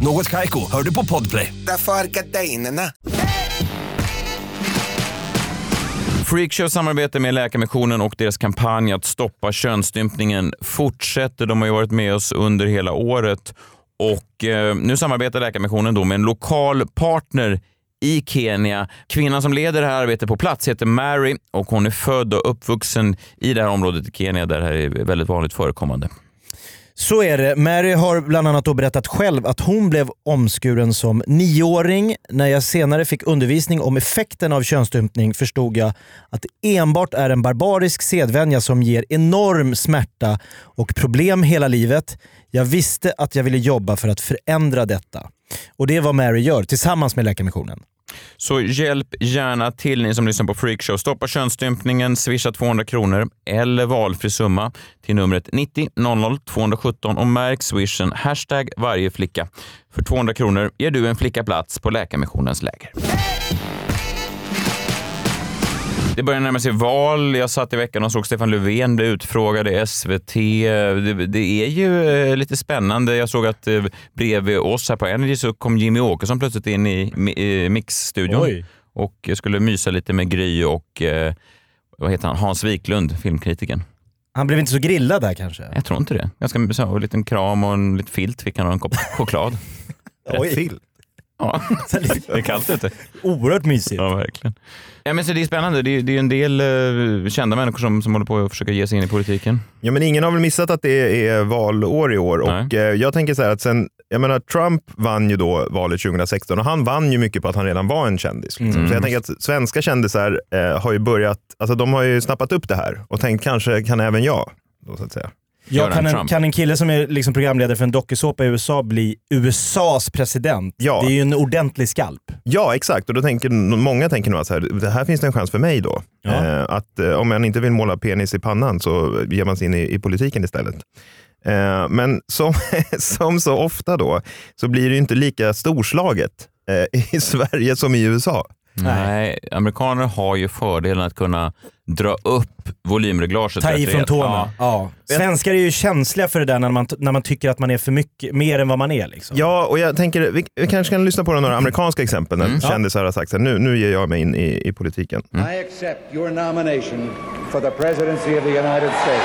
S8: Något Kaiko, hör du på Podplay.
S9: Därför är gardinerna.
S3: Freakshow samarbete med Läkarmissionen och deras kampanj att stoppa könsstympningen fortsätter. De har ju varit med oss under hela året och eh, nu samarbetar Läkarmissionen då med en lokal partner i Kenya. Kvinnan som leder det här arbetet på plats heter Mary och hon är född och uppvuxen i det här området i Kenya där det här är väldigt vanligt förekommande.
S4: Så är det. Mary har bland annat då berättat själv att hon blev omskuren som nioåring. När jag senare fick undervisning om effekten av könsstympning förstod jag att det enbart är en barbarisk sedvänja som ger enorm smärta och problem hela livet. Jag visste att jag ville jobba för att förändra detta. Och det är vad Mary gör tillsammans med Läkarmissionen.
S3: Så hjälp gärna till ni som lyssnar på Freakshow. Stoppa könsstympningen, swisha 200 kronor eller valfri summa till numret 90 00 217 och märk swishen hashtag varje flicka. För 200 kronor ger du en flicka plats på Läkarmissionens läger. Det börjar närma sig val. Jag satt i veckan och såg Stefan Löfven bli utfrågad i SVT. Det, det är ju eh, lite spännande. Jag såg att eh, bredvid oss här på Energy så kom Jimmy Åkesson plötsligt in i, mi- i Mix-studion
S4: Oj.
S3: och skulle mysa lite med Gry och eh, vad heter han? Hans Wiklund, filmkritiken.
S4: Han blev inte så grillad där kanske?
S3: Jag tror inte det. Ganska så, en liten kram och en liten filt fick han och en kopp choklad.
S6: Till.
S3: Ja, det är kallt ute.
S4: Oerhört mysigt.
S3: Ja, verkligen. Ja, men så det är spännande. Det är, det är en del eh, kända människor som, som håller på att försöka ge sig in i politiken.
S6: Ja, men ingen har väl missat att det är valår i år.
S3: Nej.
S6: Och eh, jag tänker så här att sen, jag menar, Trump vann ju då valet 2016 och han vann ju mycket på att han redan var en kändis. Liksom. Så jag tänker att svenska kändisar eh, har ju börjat, alltså de har ju snappat upp det här och tänkt kanske kan även jag. Då, så att säga.
S4: Ja,
S3: Göran
S4: kan, en,
S3: Trump.
S4: kan en kille som är liksom programledare för en dokusåpa i USA bli USAs president?
S6: Ja.
S4: Det är ju en ordentlig skalp.
S6: Ja, exakt. Och då tänker, många tänker nog att så här, det här finns det en chans för mig då.
S4: Ja.
S6: Eh, att eh, om man inte vill måla penis i pannan så ger man sig in i, i politiken istället. Eh, men som, som så ofta då, så blir det ju inte lika storslaget eh, i Sverige som i USA.
S3: Nej. amerikaner har ju fördelen att kunna dra upp volymreglaget.
S4: Ta
S3: rätt
S4: i från
S3: rejält.
S4: tårna.
S3: Ja.
S4: Ja. Svenskar är ju känsliga för det där när man, när man tycker att man är för mycket, mer än vad man är. Liksom.
S6: Ja, och jag tänker, vi, vi kanske kan lyssna på några amerikanska exempel när kändisar har sagt så här, nu, nu ger jag mig in i, i politiken.
S10: Mm.
S11: I accept your nomination for the presidency of the United States.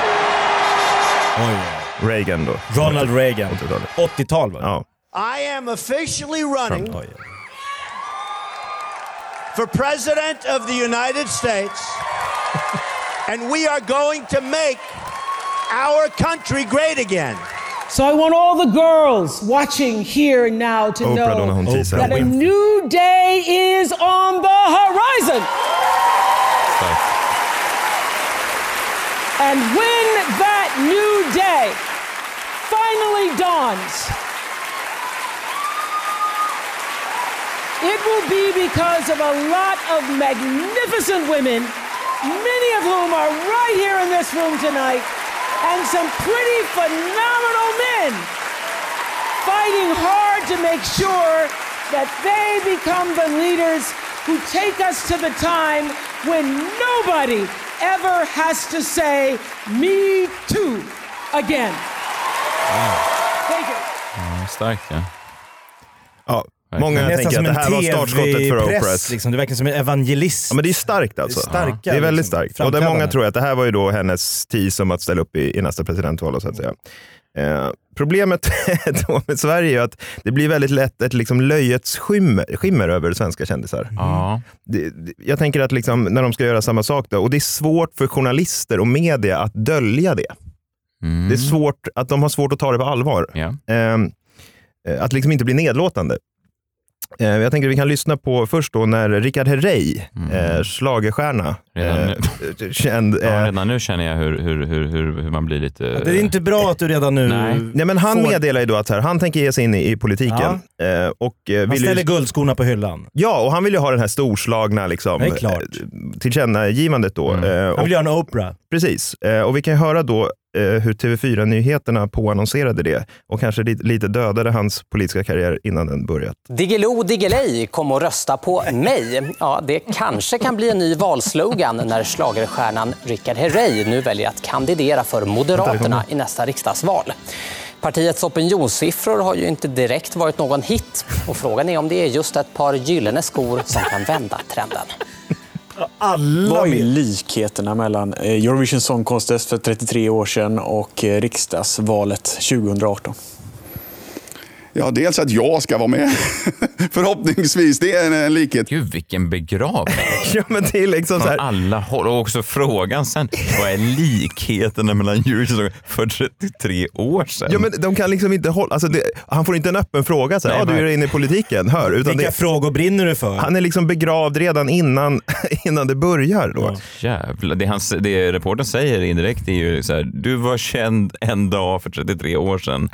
S6: Reagan då.
S4: Ronald Reagan.
S6: 80-talet.
S4: 80-tal var det.
S6: Ja.
S11: I am officially running
S4: Oj.
S11: for president of the United States, and we are going to make our country great again.
S12: So I want all the girls watching here and now to
S6: Oprah, Donna
S12: know
S6: Humtis,
S12: that a
S6: Oprah.
S12: new day is on the horizon.
S3: Starkt.
S12: And when that new day finally dawns, it will be because of a lot of magnificent women, many of whom are right here in this room tonight, and some pretty phenomenal men fighting hard to make sure that they become the leaders who take us to the time when nobody ever has to say, Me too, again. Thank you.
S6: Mm.
S3: Ja, starkt ja.
S6: Ja. Många
S4: Nästan
S6: tänker att
S4: som
S6: det
S4: en
S6: här var startskottet för
S4: TV-press,
S6: Opress.
S4: Liksom. Det verkar som en evangelist.
S6: Ja, men det är starkt alltså.
S4: Starka,
S6: det är väldigt
S4: liksom,
S6: starkt. Och där många
S4: framträdande.
S6: tror att det här var ju då hennes tease om att ställa upp i, i nästa presidentval. och Så att säga. Eh, problemet då med Sverige är att det blir väldigt lätt ett liksom löjets skimmer, skimmer över svenska kändisar. Det, det, jag tänker att liksom, när de ska göra samma sak, då, och det är svårt för journalister och media att dölja det.
S3: Mm.
S6: Det är svårt att de har svårt att ta det på allvar. Ehm, eh, att liksom inte bli nedlåtande. Eh, Jag tänker att vi kan lyssna på först då när Richard Herrey, mm. schlagerstjärna,
S3: Redan
S6: eh, känd, eh,
S3: Ja, redan nu känner jag hur, hur, hur, hur, hur man blir lite...
S4: Det är inte bra att du redan nu...
S3: Nej.
S6: Nej, men han
S4: Får-
S6: meddelar ju då att så här, han tänker ge sig in i, i politiken. Eh, och, eh,
S4: Han
S6: vill
S4: ställer
S6: ju,
S4: guldskorna på hyllan.
S6: ja, och han vill ju ha den här storslagna liksom,
S4: Det är klart. Mm.
S6: eh, tillkännagivandet. Då. Eh,
S4: Han
S6: och,
S4: vill göra en Oprah.
S6: precis, eh, och vi kan ju höra då eh, hur TV4-nyheterna påannonserade det och kanske lite, lite dödade hans politiska karriär innan den börjat.
S13: Diggiloo Diggiley kom och rösta på mig. Ja, det kanske kan bli en ny valslogan när schlagerstjärnan Richard Herrey nu väljer att kandidera för Moderaterna i nästa riksdagsval. Partiets opinionssiffror har ju inte direkt varit någon hit och frågan är om det är just ett par gyllene skor som kan vända trenden.
S8: Alla Vad är likheterna mellan eh, Eurovision Song Contest för 33 år sedan och eh, riksdagsvalet 2018?
S9: Ja, dels att jag ska vara med. Förhoppningsvis, det är en, en likhet.
S3: Gud, vilken begravning.
S6: ja, men det är liksom
S3: Från alla håll. Och också frågan sen, vad är likheterna mellan Eurovision för 33 år sedan?
S6: Ja, men de kan liksom inte hålla, alltså det, han får inte en öppen fråga, så här,
S3: Nej,
S6: ja, du
S3: nej.
S6: är inne i politiken, hör. Utan
S3: Vilka
S6: frågor brinner du för? Han är liksom begravd redan innan, innan det börjar. Då.
S3: Jävlar, det, han, det reportern säger indirekt är ju så här, du var känd en dag för 33 år sedan.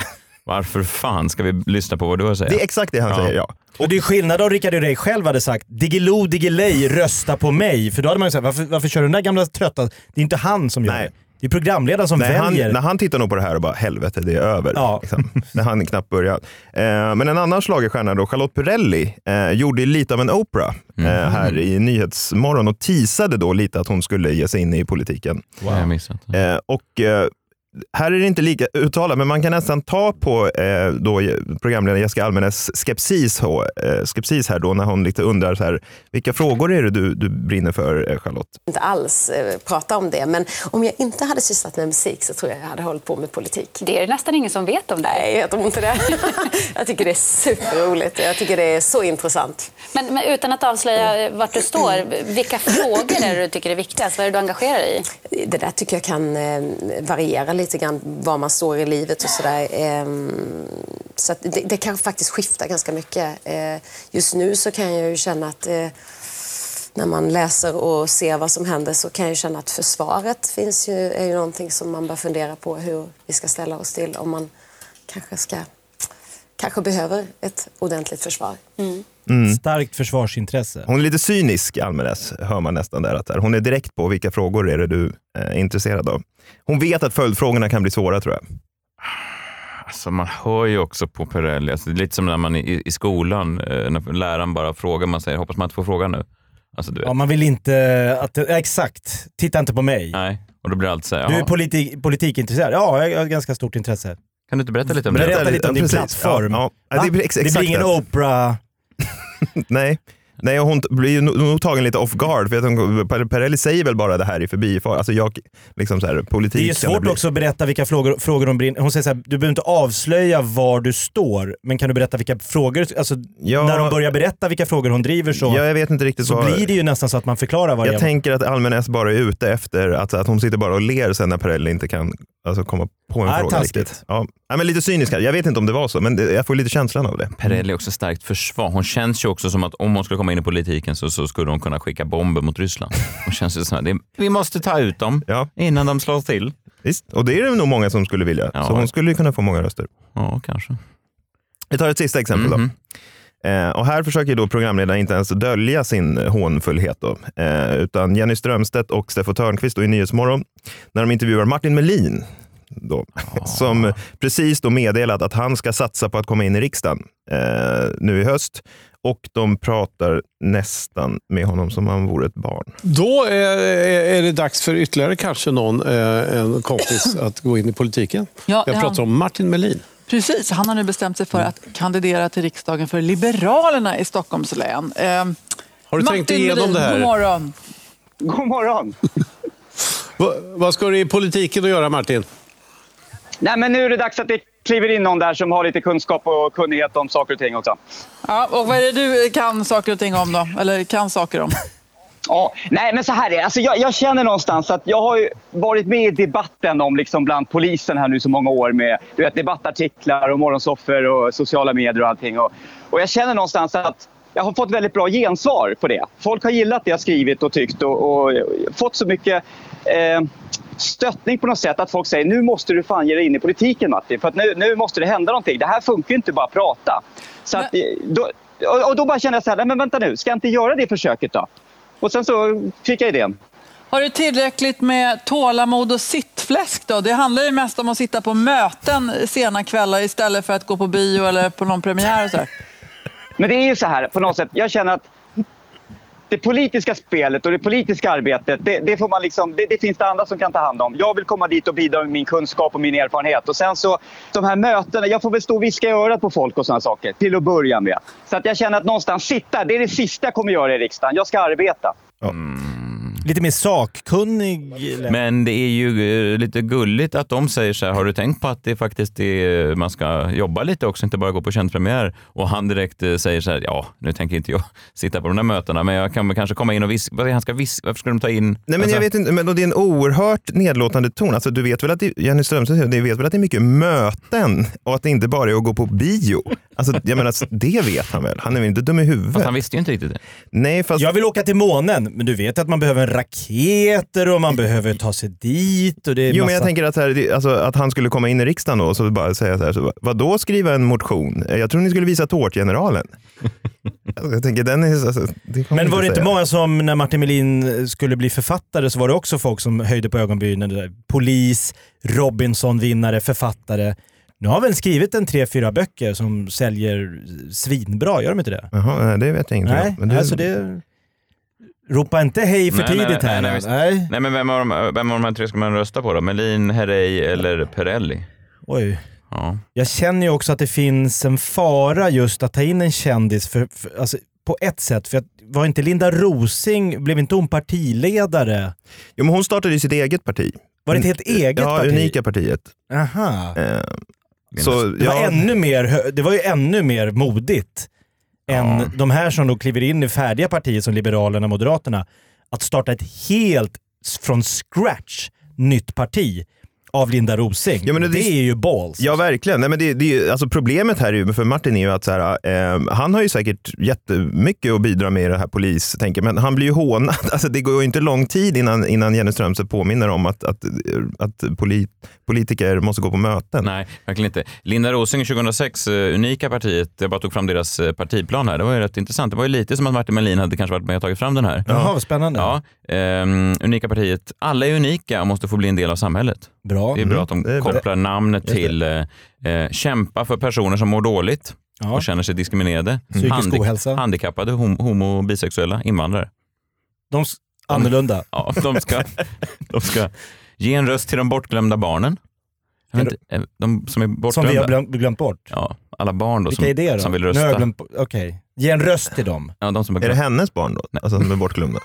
S3: Varför fan ska vi lyssna på vad du har att säga?
S6: Det är exakt det han säger, ja.
S4: Och det är skillnad om Rickard Herrey själv hade sagt “Diggiloo Diggiley, rösta på mig”. För då hade man ju sagt “Varför, varför kör du den där gamla trötta?” Det är inte han som gör det. Det är programledaren som
S6: Nej, han,
S4: väljer.
S6: när han tittar nog på det här och bara helvete, det är över. Liksom, när han knappt börjar. Eh, men en annan schlagerstjärna, då, Charlotte Perrelli, eh, gjorde lite av en Oprah eh, här i Nyhetsmorgon och teasade då lite att hon skulle ge sig in i politiken.
S3: Wow. Jag missat.
S6: Eh, och eh, här är det inte lika uttalat, men man kan nästan ta på eh, då Je- programledaren Jessica Almenäs skepsis, hå- eh, skepsis här då, när hon lite undrar så här, vilka frågor är det du, du brinner för, eh, Charlotte?
S12: inte alls eh, prata om det, men om jag inte hade sysslat med musik så tror jag jag hade hållit på med politik.
S14: Det är nästan ingen som vet om det.
S12: Nej, jag tror inte det. jag tycker det är superroligt och jag tycker det är så intressant.
S14: Men, men utan att avslöja eh, vart du står, vilka frågor är det du tycker är viktigast? Vad är det du engagerar dig i?
S12: Det där tycker jag kan eh, variera lite grann, var man står i livet och sådär. Eh, så att det, det kan faktiskt skifta ganska mycket. Eh, just nu så kan jag ju känna att eh, när man läser och ser vad som händer så kan jag ju känna att försvaret finns ju, är ju någonting som man bör fundera på hur vi ska ställa oss till om man kanske, ska, kanske behöver ett ordentligt försvar.
S4: Starkt försvarsintresse.
S6: Hon är lite cynisk, Almenäs, hör man nästan där. Att där. Hon är direkt på vilka frågor är det du eh, är intresserad av. Hon vet att följdfrågorna kan bli svåra tror jag.
S3: Alltså man hör ju också på Perrelli, alltså det är lite som när man i, i skolan, eh, när läraren bara frågar, man säger hoppas man inte får frågan nu. Alltså du vet.
S4: Ja, man vill inte att... det- ja, Exakt. Titta inte på mig.
S3: Nej, och då blir allt så här,
S4: Du är
S3: "Jaha,
S4: politi- politikintresserad? Ja, jag har ett ganska stort intresse.
S3: kan du inte berätta lite om det?
S4: Berätta lite om din plattform.
S6: Ja, ja.
S4: Va?
S6: Det, blir ex-
S4: det
S6: exakt
S4: blir ingen
S6: det.
S4: Oprah...
S6: Nej. Nej, och hon t- blir ju no- nog tagen lite off guard. För att hon, Per- Perrelli säger väl bara det här i förbifart. Alltså jag, liksom så här, politik
S4: Det är ju
S6: kan
S4: svårt
S6: bli-
S4: också att berätta vilka frågor, frågor hon brinner Hon säger såhär, du behöver inte avslöja var du står, men kan du berätta vilka frågor, alltså
S6: Ja.
S4: när de börjar berätta vilka frågor hon driver så,
S6: Ja, jag vet inte riktigt
S4: så
S6: vad-
S4: blir det ju nästan så att man förklarar vad det
S6: Jag
S4: är.
S6: tänker att Almenäs bara är ute efter att, att hon sitter bara och ler sen när Perrelli inte kan alltså, komma på en
S4: Ja,
S6: fråga
S4: taskigt.
S6: riktigt. Ja. Ja, men lite cynisk kanske. Jag vet inte om det var så, men det, jag får lite känslan av det.
S3: Perrelli är också starkt försvar. Hon känns ju också som att om hon skulle komma in i politiken så, så skulle hon kunna skicka bomber mot Ryssland. Hon känns ju så här, det är, vi måste ta ut dem innan de slår till.
S6: Visst, och det är det nog många som skulle vilja. Så hon skulle ju kunna få många röster.
S3: Ja, kanske.
S6: Vi tar ett sista exempel då. Eh, och här försöker ju då programledaren inte ens dölja sin hånfullhet. Då, eh, utan Jenny Strömstedt och Steffo Törnqvist då i Nyhetsmorgon, när de intervjuar Martin Melin, då, som precis då meddelat att han ska satsa på att komma in i riksdagen eh, nu i höst. Och de pratar nästan med honom som om han vore ett barn.
S10: Då är, är det dags för ytterligare kanske någon eh, en kompis att gå in i politiken.
S15: Ja,
S10: Jag
S15: ja.
S10: pratar om Martin Melin.
S16: Precis, han har nu bestämt sig för
S17: Mm.
S16: att kandidera till riksdagen för Liberalerna i Stockholms län. Eh,
S17: Har du
S16: Martin
S17: tänkt igenom
S16: Melin,
S17: det här?
S16: God morgon.
S10: God morgon.
S17: Va, vad ska det i politiken att göra, Martin?
S10: Nej, men nu är det dags att det kliver in någon där som har lite kunskap och kunnighet om saker och ting också.
S16: Ja, och vad är det du kan saker och ting om då? Eller kan saker om?
S10: Ja, nej, men så här är det. Alltså, jag, jag känner någonstans att jag har ju varit med i debatten om liksom bland polisen här nu så många år med du vet, debattartiklar och morgonsoffer och sociala medier och allting. Och, och jag känner någonstans att jag har fått väldigt bra gensvar på det. Folk har gillat det jag skrivit och tyckt och, och fått så mycket eh, stöttning på något sätt att folk säger nu måste du fan ge dig in i politiken Matti för att nu, nu måste det hända någonting. Det här funkar ju inte bara att prata. Så att, eh, då, och- och då bara kände jag så här, nej, men vänta nu, ska jag inte göra det försöket då? Och sen så fick jag idén.
S16: Har du tillräckligt med tålamod och sittfläsk då? Det handlar ju mest om att sitta på möten sena kvällar istället för att gå på bio eller på någon premiär och så. här.
S10: Men det är ju så här på något sätt. Jag känner att det politiska spelet och det politiska arbetet, det, det, får man liksom, det, det finns det andra som kan ta hand om. Jag vill komma dit och bidra med min kunskap och min erfarenhet. Och sen så, de här mötena, jag får väl stå och viska i örat på folk och sådana saker till att börja med. Så att jag känner att någonstans sitta, det är det sista jag kommer göra i riksdagen. Jag ska arbeta.
S4: Lite mer sakkunnig.
S3: Men det är ju eh, lite gulligt att de säger så här, har du tänkt på att det faktiskt är, eh, man ska jobba lite också, inte bara gå på kändpremiär? Och han direkt eh, säger så här, ja, nu tänker inte jag sitta på de där mötena, men jag kan väl kanske komma in och viska. Vad är det han ska viska? Varför ska de ta in...
S6: Nej, men
S3: Alltså-
S6: jag vet inte, men då det är en oerhört nedlåtande ton. Alltså, du vet väl att det, Jenny Strömstedt, säger, du vet väl att det är mycket möten och att det inte bara är att gå på bio. Alltså, jag menar, det vet han väl? Han är väl inte dum i huvudet? Fast han
S3: visste ju inte riktigt det.
S6: Nej, fast...
S4: Jag vill åka till månen, men du vet att man behöver raketer och man behöver ta sig dit. Och det är
S6: Jo, men jag
S4: massa-
S6: tänker att, så här, det- alltså, att han skulle komma in i riksdagen då och så bara säga så här, så, vad då skriva en motion? Eh, Jag tror ni skulle visa Tårtgeneralen. alltså, jag tänker, den är... Alltså, det kommer
S4: Men var det inte
S6: säga.
S4: många som, när Martin Melin skulle bli författare, så var det också folk som höjde på ögonbrynen. Det där, Polis, Robinson-vinnare, författare. Nu har väl skrivit en tre, fyra böcker som säljer svinbra, gör de inte det?
S6: Jaha, nej, det vet jag ingenting om.
S4: Nej,
S6: Men det-
S4: alltså det... Ropa inte hej för
S3: Nej, nej,
S4: tidigt här.
S3: Nej, nej, visst. nej. men vem av, de, vem av de här tre ska man rösta på då? Melin, Herrey eller Perrelli?
S4: Oj.
S3: Ja.
S4: Jag känner ju också att det finns en fara just att ta in en kändis för, för, alltså, på ett sätt. För att, var inte Linda Rosing, blev inte hon partiledare?
S6: Jo, men hon startade ju sitt eget parti.
S4: Var det ett helt eget
S6: Mm, ja,
S4: parti?
S6: Unika partiet.
S4: Aha.
S6: Eh, så,
S4: det, var
S6: ja.
S4: ännu mer, hö- det var ju ännu mer modigt än de här som då kliver in i färdiga partier som Liberalerna och Moderaterna. Att starta ett helt s- från scratch nytt parti av Linda Rosing. det, är ju balls.
S6: Ja, verkligen. Nej, men det, det, är ju- alltså problemet här är ju- för Martin är ju att så här, eh, han har ju säkert jättemycket att bidra med i det här polis, tänker, jag, men han blir ju hånad. Alltså, det går ju inte lång tid innan, innan Jenny Strömstedt påminner om att, att, att polit, politiker måste gå på möten.
S3: Nej, verkligen inte. Linda Rosing 2006, eh, Unika partiet, jag bara tog fram deras eh, partiplan här. Det var ju rätt intressant. Det var ju lite som att Martin Melin hade kanske varit med och tagit fram den här.
S4: Jaha, vad spännande.
S3: Ja, ehm, unika partiet. Alla är unika och måste få bli en del av samhället.
S4: Bra.
S3: Det är bra att de
S4: Mm, det är bra.
S3: kopplar namnet
S4: Just det.
S3: till eh, eh, kämpa för personer som mår dåligt
S4: Ja. Mm.
S3: och känner sig diskriminerade.
S4: Psykisk ohälsa.
S3: Handikappade, hom- homo och bisexuella, invandrare.
S4: De s- annorlunda.
S3: Ja, de ska, de ska ge en röst till de bortglömda barnen. Jag vet inte, eh, de som är bortglömda.
S4: Som vi har glömt, glömt bort.
S3: Ja, alla barn då
S4: Vilka
S3: som,
S4: är det då?
S3: som vill
S4: Nu har
S3: rösta.
S4: jag glömt bort- Okej, ge en röst till dem.
S3: Ja, de som
S6: Är det hennes barn då? Alltså som är bortglömda?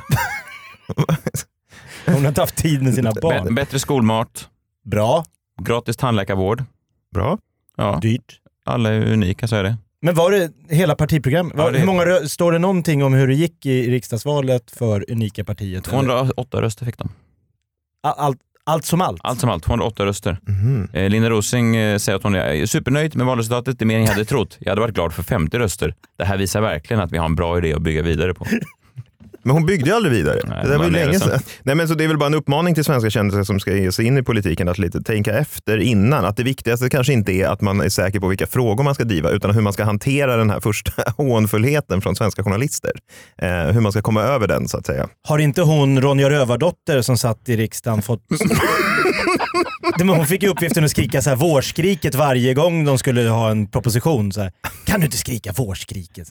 S4: Hon har inte haft tid med sina barn.
S3: B- bättre skolmat.
S4: Bra.
S3: Gratis tandläkarvård.
S6: Bra.
S3: Ja.
S4: Dyrt.
S3: Alla är unika, så är det.
S4: Men var det hela partiprogrammet? Var,
S3: Ja, det-
S4: hur många rö- står det någonting om hur det gick i riksdagsvalet för Unika partiet?
S3: 208 röster fick de.
S4: All, allt- allt som allt?
S3: Allt som allt, 208 röster. Eh, Linda Rosing eh, säger att hon är supernöjd med valresultatet. Det är mer än jag hade trott. Jag hade varit glad för 50 röster. Det här visar verkligen att vi har en bra idé att bygga vidare på.
S6: Men hon byggde ju aldrig vidare. det där
S3: man
S6: var ju
S3: är
S6: länge
S3: ledsen.
S6: sedan. Nej, men så det är väl bara en uppmaning till svenska kändisar som ska ge sig in i politiken att lite tänka efter innan. Att det viktigaste kanske inte är att man är säker på vilka frågor man ska driva utan hur man ska hantera den här första hånfullheten från svenska journalister. Eh, hur man ska komma över den så att säga.
S4: Har inte hon Ronja Rövardotter som satt i riksdagen fått... Det, men hon fick ju uppgiften att skrika så här, vårskriket varje gång de skulle ha en proposition. Så här, kan du inte skrika vårskriket?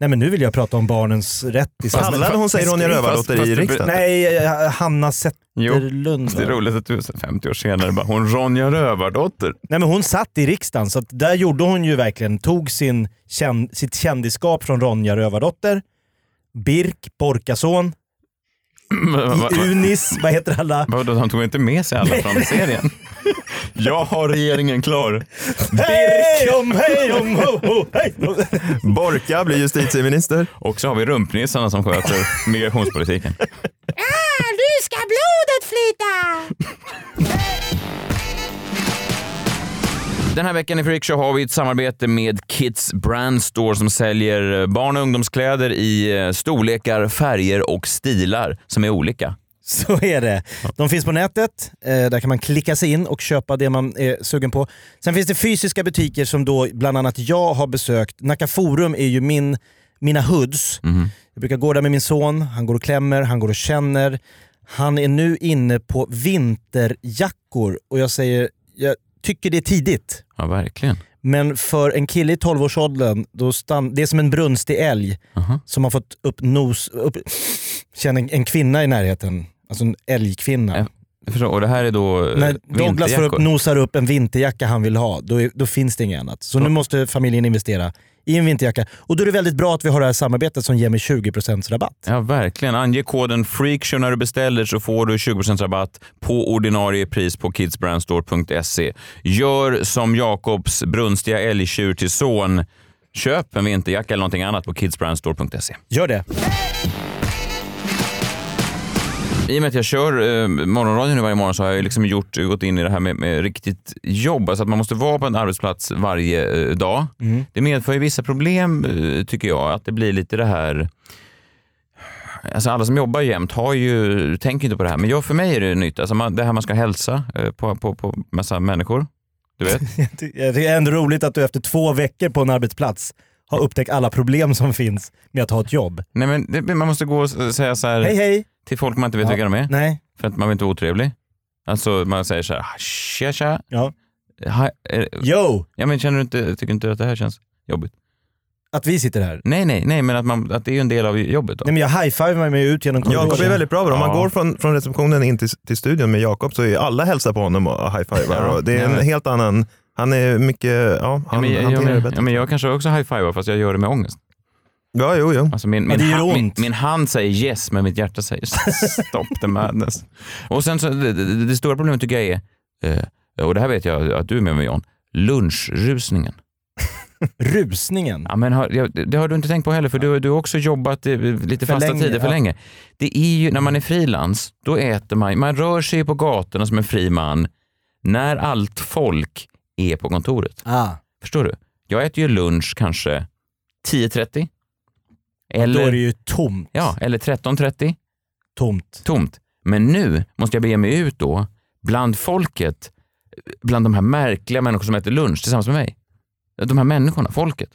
S4: Nej men nu vill jag prata om barnens rätt i samhället.
S6: Kallade hon sig Ronja Rövardotter i riksdagen?
S4: Nej, eh, Hanna Zetterlund.
S3: Det är roligt att du så 50 år senare bara, hon Ronja Rövardotter.
S4: Nej, men hon satt i riksdagen, så att där gjorde hon ju verkligen, tog sin, kän, sitt kändisskap från Ronja Rövardotter, Birk, Borkason,
S3: I
S4: Unis, vad heter alla?
S3: Vadå, de tog inte med sig alla från serien? Jag har regeringen klar. Birk!
S4: om, hej om, ho, ho, hej!
S3: Borka blir justitieminister. Och så har vi rumpnissarna som sköter migrationspolitiken.
S18: Ah, nu ska blodet flyta!
S3: Den här veckan i Freakshow har vi ett samarbete med Kids Brand Store som säljer eh, barn och ungdomskläder i eh, storlekar, färger och stilar som är olika.
S4: Så är det. De finns på nätet, eh, där kan man klicka sig in och köpa det man är sugen på. Sen finns det fysiska butiker som då bland annat jag har besökt. Nacka Forum är ju min, mina hoods. Jag brukar gå där med min son, han går och klämmer, han går och känner. Han är nu inne på vinterjackor och jag säger, jag tycker det är tidigt.
S3: Ja, verkligen.
S4: Men för en kille i 12-årsåldern, då stann, det är som en brunstig älg som har fått upp nos... Upp, känner en, en kvinna i närheten. Alltså en älgkvinna.
S3: Jag förstår. Och det här är då eh,
S4: När Douglas får upp,
S3: vinterjackor.
S4: nosar upp en vinterjacka han vill ha, då, är, då finns det inget annat. Så nu måste familjen investera i en vinterjacka. Och då är det väldigt bra att vi har det här samarbetet som ger mig 20% rabatt.
S3: Ja, verkligen. Ange koden FREAKSHOW när du beställer så får du 20% rabatt på ordinarie pris på kidsbrandstore.se. Gör som Jakobs brunstiga älgtjur till son. Köp en vinterjacka eller någonting annat på kidsbrandstore.se.
S4: Gör det.
S3: I och med att jag kör eh, morgonradion nu varje morgon så har jag ju liksom gjort, gått in i det här med, med riktigt jobb. Alltså att man måste vara på en arbetsplats varje eh, dag.
S8: Mm.
S3: Det medför ju vissa problem eh, tycker jag. Att det blir lite det här... Alltså alla som jobbar jämt har ju, tänker inte på det här, men jag, för mig är det nytt. Alltså man, det här man ska hälsa eh, på, på, på massa människor. Du vet?
S4: Det är ändå roligt att du efter två veckor på en arbetsplats har upptäckt alla problem som finns med att ha ett jobb.
S3: Nej, men det, man måste gå och s- eh, säga så här
S4: Hej, hej.
S3: till folk man inte vet vilka de är.
S4: Nej.
S3: För att man vill inte vara otrevlig. Alltså man säger så här, tja tja.
S4: Ja.
S3: Ha, eh,
S4: Yo!
S3: Ja, men känner du inte, tycker inte du att det här känns jobbigt?
S4: Att vi sitter här?
S3: Nej, nej, nej, men att, man, att det är ju en del av jobbet. Då.
S4: Nej, men jag high-fivar mig ut genom korridoren.
S6: Jakob är väldigt bra på det. Om man
S3: Ja.
S6: går från, från receptionen in till, till studion med Jakob så är alla hälsar på honom och high-fivar.
S3: Ja.
S6: och det är en
S3: Ja.
S6: helt annan... Han är mycket... Ja,
S3: Ja,
S6: han
S3: men, jag,
S6: hanterar
S3: jag,
S6: det
S3: men,
S6: bättre.
S3: ja, men jag kanske också high-fivar fast jag gör det med ångest.
S6: Ja, jo, jo.
S3: Alltså min,
S6: Ja,
S3: min,
S6: det gör
S3: hand- min,
S6: ont.
S3: min hand säger yes, men mitt hjärta säger stop the madness. Och sen så, det, det, det stora problemet tycker jag är, eh, och det här vet jag att du är med mig John, lunchrusningen.
S4: Rusningen?
S3: Ja, men har, jag- det har du inte tänkt på heller, för du, du har också jobbat eh, lite
S4: För
S3: fasta
S4: länge,
S3: tider för
S4: ja. Mm.
S3: länge. Det är ju, när man är frilans, då äter man, man rör sig ju på gatorna som en fri man när allt folk är på kontoret.
S4: Ah.
S3: Förstår du? Jag äter ju lunch kanske 10.30.
S4: Då är det ju tomt.
S3: Ja, eller 13.30.
S4: Tomt.
S3: Tomt. Men nu måste jag bege mig ut då, bland folket, bland de här märkliga människor som äter lunch tillsammans med mig. De här människorna, folket.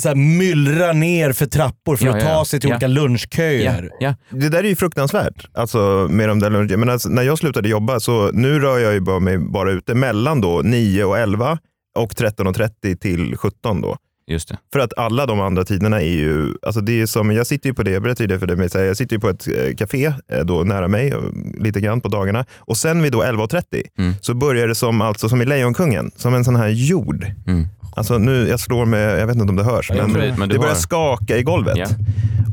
S4: Så här, myllra ner för trappor för att ta sig till olika lunchköer.
S6: Det där är ju fruktansvärt. Alltså, med de där lunch... men alltså, när jag slutade jobba, så nu rör jag ju bara mig bara ute mellan då 9 och 11 och 13.30 till 17 då.
S3: Just det.
S6: För att alla de andra tiderna är ju, alltså det är som, jag sitter ju på det, jag berättade ju det för dig, men så här, jag sitter ju på ett eh, café eh, då nära mig eh, lite grann på dagarna och sen vid då 11.30
S3: Mm.
S6: så börjar det som, alltså, som i Lejonkungen, som en sån här jord.
S3: Mm.
S6: Alltså nu, jag slår med, jag vet inte om det hörs,
S3: Ja, jag
S6: men,
S3: tror det, men du
S6: det börjar
S3: hör.
S6: skaka i golvet.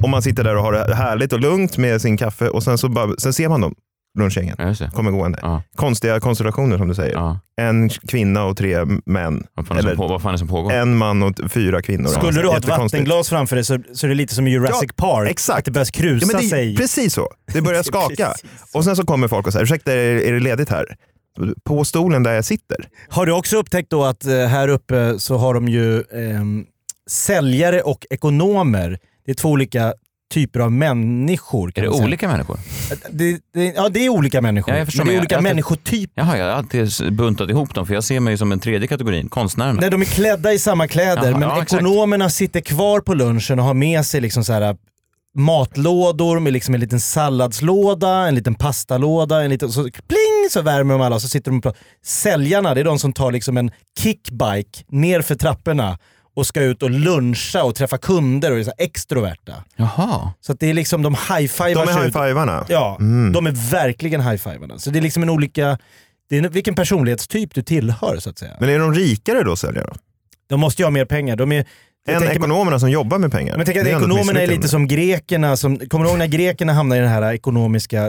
S6: Och man sitter där och har det härligt och lugnt med sin kaffe och sen, så bara, sen ser man dem, lunchgängen, kommer gående. Konstiga konstellationer som du säger. En kvinna och tre män.
S3: Vad fan är det som på- vad fan är det som pågår?
S6: En man och t- fyra kvinnor.
S4: Skulle du ha ett
S6: Jättekonstigt.
S4: vattenglas framför dig så, så är det lite som i Jurassic Park.
S6: Exakt.
S4: Att det börjar krusa
S6: Ja, men det,
S4: sig.
S6: Precis så. Det börjar
S4: Det är
S6: skaka.
S4: precis
S6: Och sen så kommer folk och säger, ursäkta är är det ledigt här? På stolen där jag sitter.
S4: Har du också upptäckt då att eh, här uppe så har de ju ehm, säljare och ekonomer. Det är två olika typer av människor. Kan
S3: Är det
S4: man säga.
S3: olika människor?
S4: Det, det, ja, det är olika människor.
S3: Ja, jag förstår,
S4: men det är
S3: jag-
S4: olika
S3: jag-
S4: människotyper.
S3: Jaha, jag har alltid buntat ihop dem för jag ser mig ju som den tredje kategorin, konstnärerna.
S4: Nej, de är klädda i samma kläder,
S3: Jaha,
S4: men
S3: ja, exakt.
S4: ekonomerna sitter kvar på lunchen och har med sig liksom så här matlådor med liksom en liten salladslåda, en liten pastalåda, en liten... Så, pling så värmer de alla och så sitter de och pratar. Säljarna, det är de som tar liksom en kickbike ner för trapporna och ska ut och luncha och träffa kunder och är så här extroverta.
S3: Jaha.
S4: Så att det är liksom de high-fivar
S6: De är Mm.
S4: sig ut.
S6: high-fivarna?
S4: Ja, de är verkligen high-fivarna. Så det är liksom en olika, det är en- vilken personlighetstyp du tillhör så att säga.
S6: Men är de rikare då säljare?
S4: De måste ju ha mer pengar. De är, jag
S6: Än
S4: tänker-
S6: ekonomerna som jobbar med pengar.
S4: Men tänk att
S6: Det är ändå ett
S4: ekonomerna är lite
S6: misslyckande.
S4: som grekerna. Som, kommer du ihåg när grekerna hamnade i den här ekonomiska...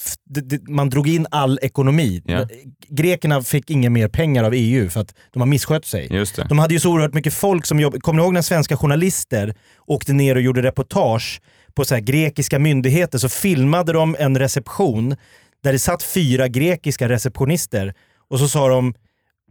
S4: f- d- d- Man drog in all ekonomi.
S3: Ja.
S4: Grekerna fick inga mer pengar av EU för att de har misskött sig.
S3: Just det.
S4: De hade ju så oerhört mycket folk som jobbade. Kommer ni ihåg när svenska journalister åkte ner och gjorde reportage på så här grekiska myndigheter så filmade de en reception där det satt fyra grekiska receptionister och så sa de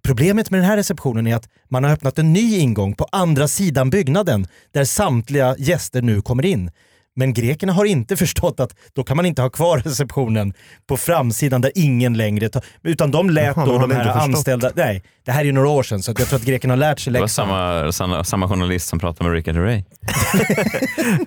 S4: Problemet med den här receptionen är att man har öppnat en ny ingång på andra sidan byggnaden där samtliga gäster nu kommer in. Men grekerna har inte förstått att då kan man inte ha kvar receptionen på framsidan där ingen längre tar... Utan de lät
S3: Jaha, de
S4: då de
S3: hade
S4: här
S3: inte förstått.
S4: anställda... Nej, det här är ju några år sedan så att jag tror att grekerna har lärt sig
S3: Det var
S4: läxan.
S3: samma, samma, samma journalist som pratade med Rickard Herrey.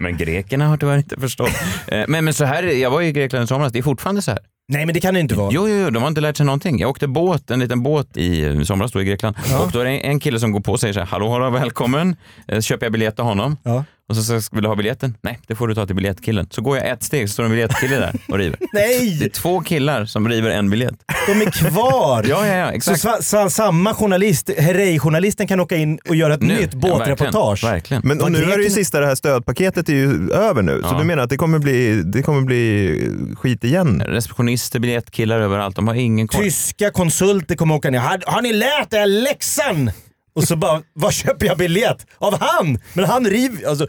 S3: men grekerna har tyvärr inte förstått. Eh, Men, men så här, är- jag var i Grekland i somras, det är fortfarande så här.
S4: Nej men det kan det inte vara.
S3: Jo, jo, jo, de har inte lärt sig någonting. Jag åkte båt, en liten båt i eh, somras då i Grekland och då är det en- en kille som går på och säger så här, hallå, hallå, välkommen. Eh, Så köper jag biljett till honom
S4: Ja.
S3: och så säger jag, vill du ha biljetten? Nej, det får du ta till biljettkillen. Så går jag ett steg, så står en biljettkille där och river.
S4: Nej!
S3: Det är två killar som river en biljett.
S4: De är kvar!
S3: Ja, ja, ja, exakt.
S4: Så, sa- sa- samma journalist, Herrey-journalisten kan åka in och göra ett nytt båtreportage.
S6: Men och
S4: Vad
S6: nu är det ju
S4: grekerna-
S6: sista det här stödpaketet är ju över nu. Så
S3: Ja.
S6: du menar att det kommer bli, det kommer bli skit igen?
S3: Receptionister, biljettkillar överallt, de har ingen koll.
S4: Tyska konsulter kommer åka ner. Har, har ni lärt er läxan? Och så bara, var köper jag biljett? Av han! Men han river... Alltså,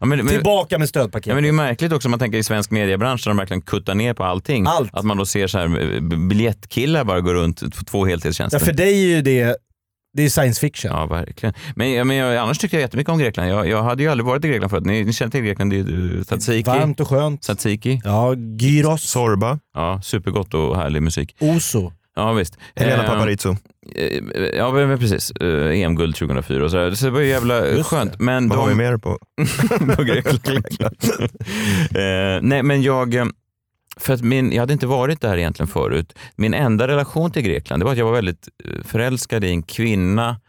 S3: Ja, men- men-
S4: tillbaka med
S3: Ja,
S4: stödpaket.
S3: men det är ju märkligt också om man tänker i svensk mediebransch där de verkligen kuttar ner på allting.
S4: Allt.
S3: Att man då ser så här eh, biljettkillar bara gå runt t- två heltidstjänster.
S4: ja, för dig är ju det, det är science fiction.
S3: Ja, verkligen. Men, ja, men jag, annars tyckte jag jättemycket om Grekland. Jag, jag hade ju aldrig varit i Grekland förut. Ni, ni känner till Grekland, det är ju eh, tzatziki.
S4: Varmt och skönt.
S3: Tzatziki.
S4: Ja, gyros.
S6: Sorba.
S3: Ja, supergott och härlig musik.
S4: Oso.
S3: Ja, visst.
S6: Helena
S3: Eh,
S6: Paparizou.
S3: eh, Ja, men men precis. Eh, EM-guld 2004 och sådär. Så det var ju jävla eh, skönt. Men
S6: Vad
S3: de-
S6: har vi mer på?
S3: på Grekland. Eh, nej, men jag... eh, För att min, jag hade inte varit där egentligen förut. Min enda relation till Grekland det var att jag var väldigt eh, förälskad i en kvinna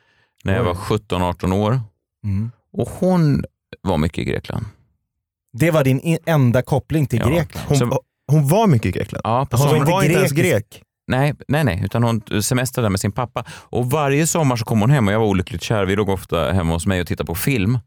S3: när jag
S4: Oj.
S3: var 17-18 år.
S4: Mm.
S3: Och hon var mycket i Grekland.
S4: Det var din i- enda koppling till
S3: Ja.
S4: Grekland.
S3: Hon- Så-
S6: Hon var mycket i Grekland.
S3: Ja, på
S6: Hon var
S3: sommaren.
S6: inte Hon var inte ens grekisk. grek.
S3: Nej, nej, nej, utan hon semestrade med sin pappa. Och varje sommar så kom hon hem och jag var olyckligt kär. Vi låg ofta hemma hos mig och tittade på film.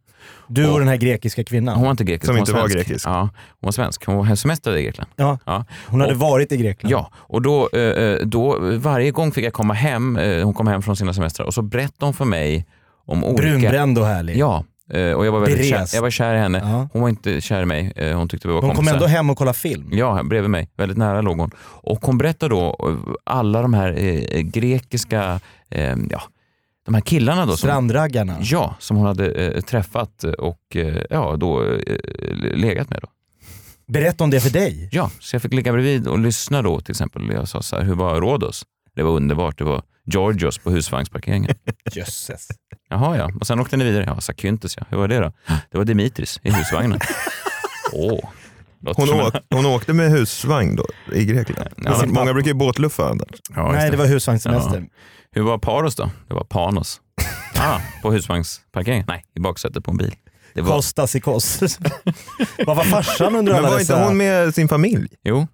S4: Du och den här grekiska kvinnan.
S3: Hon var inte grekisk,
S4: Som
S3: hon
S4: inte var
S3: svensk.
S4: grekisk.
S3: Ja, hon var svensk. Hon var- semestrade i Grekland.
S4: Ja.
S3: Ja.
S4: Hon hade
S3: Och-
S4: varit i Grekland.
S3: Ja, och då, eh, eh, då varje gång fick jag komma hem, eh, hon kom hem från sina semestrar och så berättade hon för mig om olika...
S4: Brunbränd och härlig.
S3: Ja, eh, och jag var väldigt kär,
S4: Berest.
S3: jag var kär i henne.
S4: Ja.
S3: Hon var inte kär i mig, eh, hon tyckte vi var
S4: Hon kom
S3: kompisar.
S4: ändå hem och kollade film.
S3: Ja, bredvid mig. Väldigt nära låg hon. Och hon berättar då eh, alla de här eh, grekiska, eh, ja, de här killarna då. som-
S4: Strandraggarna.
S3: Ja, som hon hade eh, träffat och eh, ja, då eh, legat med. Då.
S4: Berätta om det för dig.
S3: Ja, så jag fick ligga bredvid och lyssna då till exempel. Jag sa så här, hur var Rhodos? Det var underbart. Det var Georgios på husvagnsparkeringen.
S4: Jösses.
S3: Jaha ja, och sen åkte ni vidare. Ja, Sakyntes ja. Hur var det då? Det var Dimitris i husvagnen. Åh. låter
S6: Hon,
S3: som en-
S6: åk, hon åkte med husvagn då i Grekland.
S3: Ja.
S6: Många brukar ju båtluffa annars.
S3: Ja, just
S4: Nej, det var husvagnssemester.
S3: Ja. Hur var Paros då? Det var Panos. Ah, på husvagnsparkeringen? Nej, i baksätet på en bil. Det var...
S4: Kostas i Kos. Vad var farsan under
S6: Men
S4: alla
S6: var inte
S4: dessa...
S6: hon med sin familj?
S3: Jo.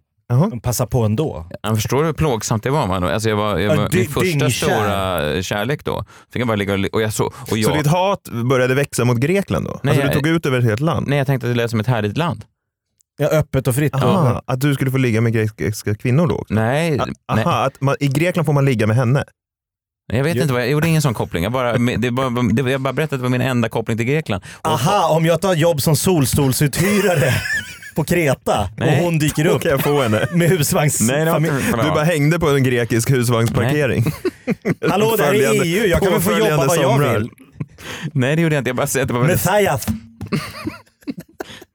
S4: De passar på ändå.
S3: Han förstår hur plågsamt det var. Man. Alltså jag var, jag
S4: Ja,
S3: var
S4: dy-
S3: min första
S4: dyngkär.
S3: stora eh, kärlek då. Fick jag bara ligga och, li- och jag så, och jag,
S6: Så ditt hat började växa mot Grekland då?
S3: Nej,
S6: alltså du
S3: jag-
S6: tog ut över ett helt land?
S3: Nej, jag tänkte att det lät som ett härligt land.
S4: Ja, öppet och fritt.
S6: Aha, att du skulle få ligga med grekiska kvinnor då? också?
S3: Nej.
S6: A-
S3: nej.
S6: Ah, Aha, att man, i Grekland får man ligga med henne?
S3: Jag vet
S6: Jo.
S3: inte, vad, jag gjorde ingen sån koppling. Jag bara, det var, det, var- jag bara berättade att det var min enda koppling till Grekland. Och,
S4: Aha, om jag tar jobb som solstolsuthyrare på Kreta
S3: Nej.
S4: och hon dyker upp
S6: Kan jag få henne?
S4: med husvagnsfamilj.
S6: Nej, det var inte- Du bara hängde på en grekisk husvagnsparkering.
S4: Hallå, det här är
S6: Följande-
S4: EU. Jag kan väl få jobba
S6: påföljande
S4: vad jag
S6: somrar.
S4: vill.
S3: Nej, det gjorde jag inte. Jag bara säger att det var väldigt...
S4: Messias.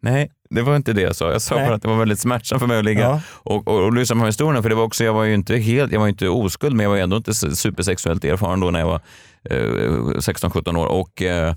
S3: Nej, det var inte det jag sa. Jag sa
S4: Nej.
S3: bara att det var väldigt smärtsamt för mig att ligga
S4: Ja.
S3: och, och, och lyssna på de här historierna. För det var också, jag var ju inte helt, jag var ju inte oskuld, men jag var ju ändå inte s- supersexuellt erfaren då när jag var eh, 16-17 år. Och, eh,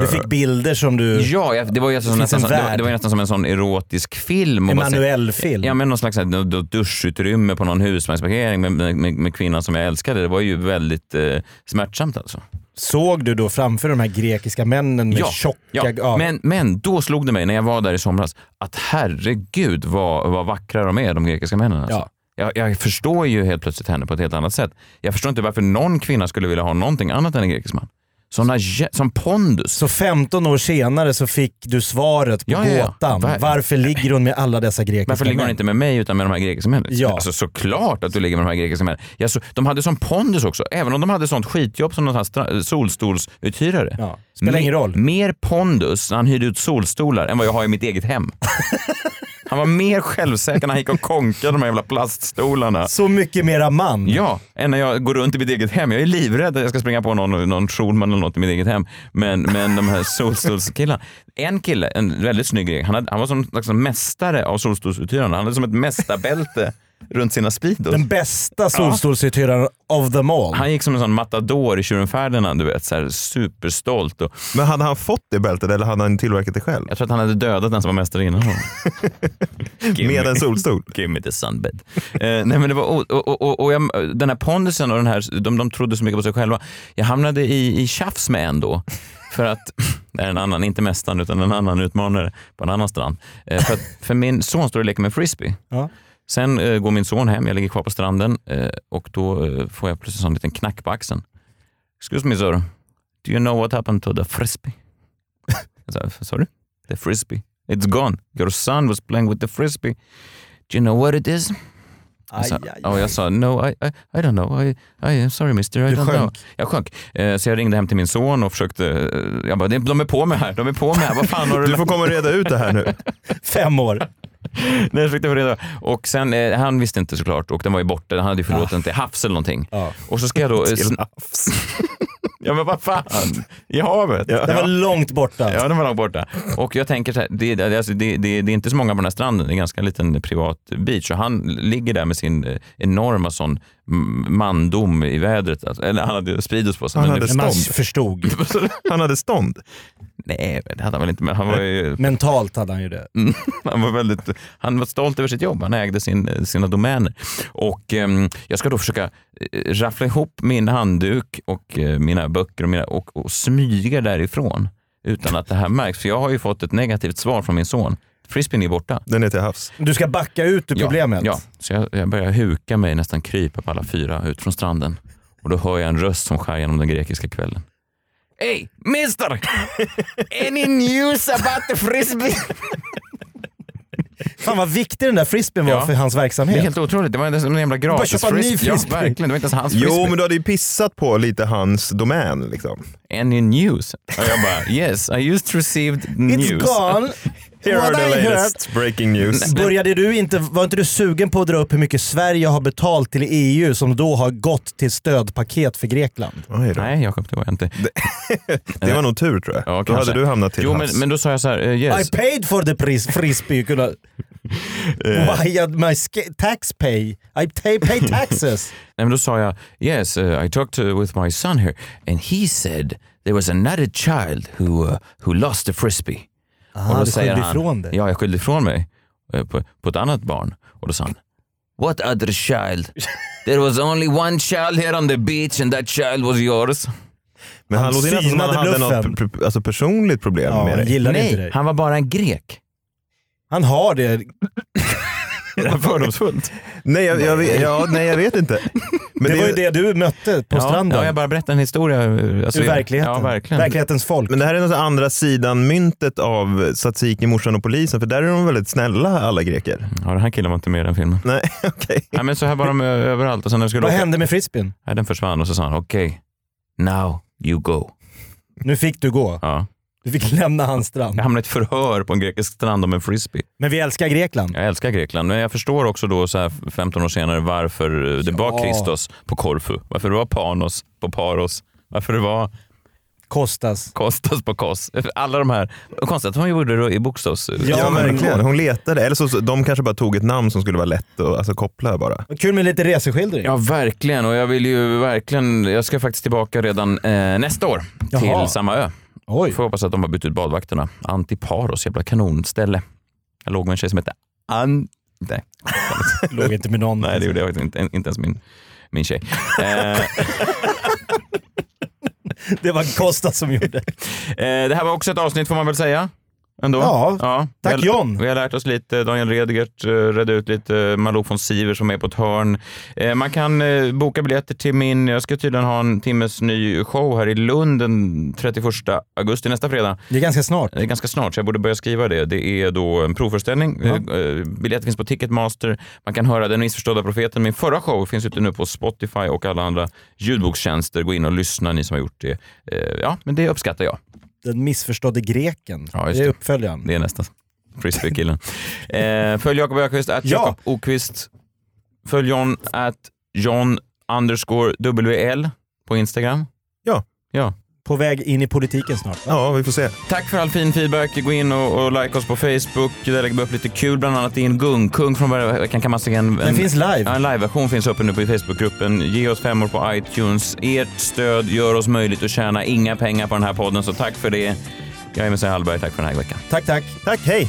S4: Du fick bilder som du...
S3: Ja, jag, det var ju alltså
S4: Det finns
S3: nästan,
S4: en
S3: som- det var,
S4: värld.
S3: det var ju nästan som en sån erotisk film. och bara se-
S4: Emanuel-film.
S3: Ja, men någon slags så här, då- duschutrymme på någon husvagnsparkering med, med, med, med kvinnan som jag älskade. Det var ju väldigt eh, smärtsamt alltså.
S4: Såg du då framför de här grekiska männen med tjocka... ja.
S3: Men, men då slog det mig när jag var där i somras att herregud vad, vad vackra de är, de grekiska männen. Alltså.
S4: Ja.
S3: Jag, jag förstår ju helt plötsligt henne på ett helt annat sätt. Jag förstår inte varför någon kvinna skulle vilja ha någonting annat än en grekisk man. Såna, jä- som pondus.
S4: Så 15 år senare så fick du svaret på
S3: Ja, ja, ja.
S4: gåtan.
S3: Var-
S4: Varför ligger hon med alla dessa grekiska
S3: Varför ligger hon
S4: män?
S3: inte med mig utan med de här grekiska männen?
S4: Ja.
S3: Alltså, såklart att du ligger med de här grekiska männen. Jag så, de hade sån pondus också, även om de hade sånt skitjobb som någon sån här stra- solstolsuthyrare.
S4: spelar ingen roll.
S3: Mer pondus när han hyrde ut solstolar än vad jag har i mitt eget hem. han var mer självsäker när han gick och konkade de här jävla plaststolarna.
S4: Så mycket mera man.
S3: Ja, än när jag går runt i mitt eget hem. Jag är livrädd att jag ska springa på någon, någon Schulman eller något i mitt eget hem. Men, men de här solstolskillarna. En kille, en väldigt snygg grej, han, hade, han var som en slags mästare av solstolsuthyrarna. Han hade som ett mästarbälte runt sina speedos.
S4: Den bästa solstolsuthyraren of them all.
S3: Alltså. Han gick som en sån matador i Tjuren Ferdinand, du vet. Så här superstolt. Och...
S6: Men hade han fått det bältet eller hade han tillverkat det själv?
S3: Jag tror att han hade dödat den som var mästare innan honom. Give
S6: Med
S3: me-
S6: en solstol?
S3: Give me the sunbed. eh, nej men det var, och, och, och, och jag, den här pondusen och den här, de, de trodde så mycket på sig själva. Jag hamnade i, i tjafs med en då. För att, det är en annan, inte mästaren utan en annan utmanare på en annan strand. Eh, för, att, för min son står och leker med frisbee.
S4: Ja.
S3: Sen eh, går min son hem, jag ligger kvar på stranden eh, och då eh, får jag plötsligt en sån liten knack på axeln. Excuse me sir, do you know what happened to the frisbee? Jag sa, sorry? The frisbee? It's gone. Your son was playing with the frisbee. Do you know what it is? Jag sa,
S8: Aj, aj,
S3: och jag sa no, I, I, I don't know. I, I, I'm sorry mister, I
S8: Du
S3: don't
S8: sjönk.
S3: know. Jag sjönk. Eh, så jag ringde hem till min son och försökte, eh, jag bara, "Det- de är på mig här, de är på mig här. Vad fan har du
S6: Du får komma och reda ut det här nu.
S4: Fem år.
S3: Nej, jag försökte få reda Och sen, eh, han visste inte såklart och den var ju borta. Han hade ju förlåtit den till havs eller någonting. Och så ska jag då... eh,
S6: Till
S3: sn- ja men vad fan, i havet. Ja,
S4: Den var långt borta.
S3: Ja, den var långt borta. Och jag tänker så här, det, det, alltså, det, det, det är inte så många på den här stranden, det är en ganska liten privat beach. Och han ligger där med sin eh, enorma sån mm, mandom i vädret. Alltså, eller han hade ju Speedos på sig.
S6: Han
S3: men
S6: hade
S3: nu-
S4: Man förstod.
S6: Han hade stånd?
S3: Nej, men det hade han väl inte. Men han var ju...
S4: Mentalt hade han ju det.
S3: Mm, Han var, väldigt, han var stolt över sitt jobb, han ägde sin, sina domäner. Och, ehm, jag ska då försöka eh, raffla ihop min handduk och eh, mina böcker och, mina, och, och smyga därifrån utan att det här märks. För jag har ju fått ett negativt svar från min son. Frisbeen är borta.
S6: Den är till havs.
S4: Du ska backa ut ur problemet.
S3: Ja, ja. så jag, jag börjar huka mig, nästan krypa på alla fyra ut från stranden. Och då hör jag en röst som skär genom den grekiska kvällen. Hey, mister! Any news about the frisbee?
S4: Fan vad viktig den där frisbeen var
S3: Ja.
S4: för hans
S3: Det
S4: verksamhet.
S3: är helt otroligt. Det var inte ens en jävla gratis
S4: köpa en ny
S3: frisbee. Ja,
S4: frisbee.
S3: verkligen. Det var inte ens hans
S6: Jo,
S3: frisbee.
S6: men du hade ju pissat på lite hans domän. Liksom.
S3: Any news? Och jag bara, yes, I just received news.
S4: gone.
S6: Here
S4: What
S6: are the
S4: I
S6: latest breaking news.
S4: Började du inte, var inte du sugen på att dra upp hur mycket Sverige har betalt till EU som då har gått till stödpaket för Grekland?
S3: Nej, Jakob, det var jag inte.
S6: Det var nog tur tror jag.
S3: Ja,
S6: då
S3: kanske.
S6: hade du hamnat till
S3: Jo,
S6: havs.
S3: men, men då sa jag så här, eh, yes. Eh.
S4: I paid for the pris, frisbee. Kunna, why had my ska- tax pay? I pay, pay taxes.
S3: Nej, men då sa jag, yes, uh, I talked to, with my son here and he said there was another child who, uh, who lost the frisbee.
S4: Aha, du skyllde ifrån dig.
S3: Ja, jag skyllde ifrån mig eh, på, på ett annat barn. Och då sa han, what other child? There was only one child here on the beach and that child was yours.
S6: Men han, låter ju nästan som att han hade något pr- pr- alltså personligt problem med dig.
S3: Nej, han var bara en grek.
S4: Han har det.
S3: Är det här fördomsfullt?
S6: Nej, jag, jag, vet- ja, nej, jag vet inte. Men
S4: det var ju det du mötte på
S3: ja,
S4: stranden.
S3: Ja, jag bara berättar en historia. Alltså,
S4: Ur verkligheten.
S3: Ja, verkligen.
S4: Verklighetens folk.
S6: Men det här är något andra sidan myntet av Tsatsiki, morsan och polisen, för där är de väldigt snälla alla greker.
S3: Ja, den här killen var inte med i den filmen.
S6: Nej, okej.
S3: Nej, men så här var de ö- överallt. Och sen när vi skulle
S4: Vad
S3: åka-
S4: hände med frisbeen?
S3: Nej, den försvann och så sa han okej, now you go.
S4: Nu fick du gå.
S3: Ja.
S4: Du fick lämna hans strand.
S3: Jag hamnade i ett förhör på en grekisk strand om en frisbee.
S4: Men vi älskar Grekland.
S3: Jag älskar Grekland, men jag förstår också då så här 15 år senare varför eh, det var Christos på Korfu, varför det var Panos på Paros, varför det var
S4: Kostas.
S3: Kostas på Kos. Alla de här. Konstigt att hon gjorde det i eh, Bokstavs...
S6: Ja, verkligen. Hon letade. Eller så, så, de kanske bara tog ett namn som skulle vara lätt att alltså, koppla bara.
S4: Kul med lite reseskildring.
S3: Ja, verkligen. Och jag vill ju verkligen... Jag ska faktiskt tillbaka redan eh, nästa år
S4: Jaha.
S3: till samma ö.
S4: Oj.
S3: Får hoppas att de har bytt ut badvakterna. Antiparos, jävla kanonställe. Jag låg med en tjej som hette An... Nej.
S4: Låg inte med någon.
S3: Nej, det gjorde jag faktiskt inte. Inte ens min, min tjej. Eh,
S4: Det var Costa som gjorde.
S3: Eh, det här var också ett avsnitt får man väl säga? Ändå.
S4: Ja. Tack,
S3: vi har,
S4: John.
S3: Vi har lärt oss lite. Daniel Redgert eh, redde ut lite. eh, Malou von Sivers som är på ett hörn. Eh, Man kan eh, boka biljetter till min... Jag ska tydligen ha en timmes ny show här i Lund den 31 augusti, nästa fredag.
S4: Det är ganska snart.
S3: Det är ganska snart, så jag borde börja skriva det. Det är då en provföreställning.
S4: Ja.
S3: Eh, Biljetter finns på Ticketmaster. Man kan höra Den missförstådda profeten. Min förra show finns ute nu på Spotify och alla andra ljudbokstjänster. Gå in och lyssna, ni som har gjort det. Eh, Ja, men det uppskattar jag.
S4: Den missförstådde greken.
S3: Ja, just
S4: det är uppföljaren.
S3: Det är nästa frisbeekillen. eh, följ Jakob Ökvist att
S4: Ja.
S3: Jakob Okvist. Följ John att John underscore WL på Instagram.
S6: Ja.
S3: ja.
S4: På väg in i politiken snart.
S6: Ja, vi får se.
S3: Tack för all fin feedback. Gå in och, och like oss på Facebook. Där lägger vi upp lite kul, bland annat in Gung-Kung från förra veckan. Kan man se en, en,
S4: Den finns live.
S3: Ja, en live-version finns uppe nu på Facebookgruppen. Ge oss femmor på iTunes. Ert stöd gör oss möjligt att tjäna inga pengar på den här podden, så tack för det. Jag är Messiah Hallberg. Tack för den här veckan.
S4: Tack, tack.
S6: Tack, hej.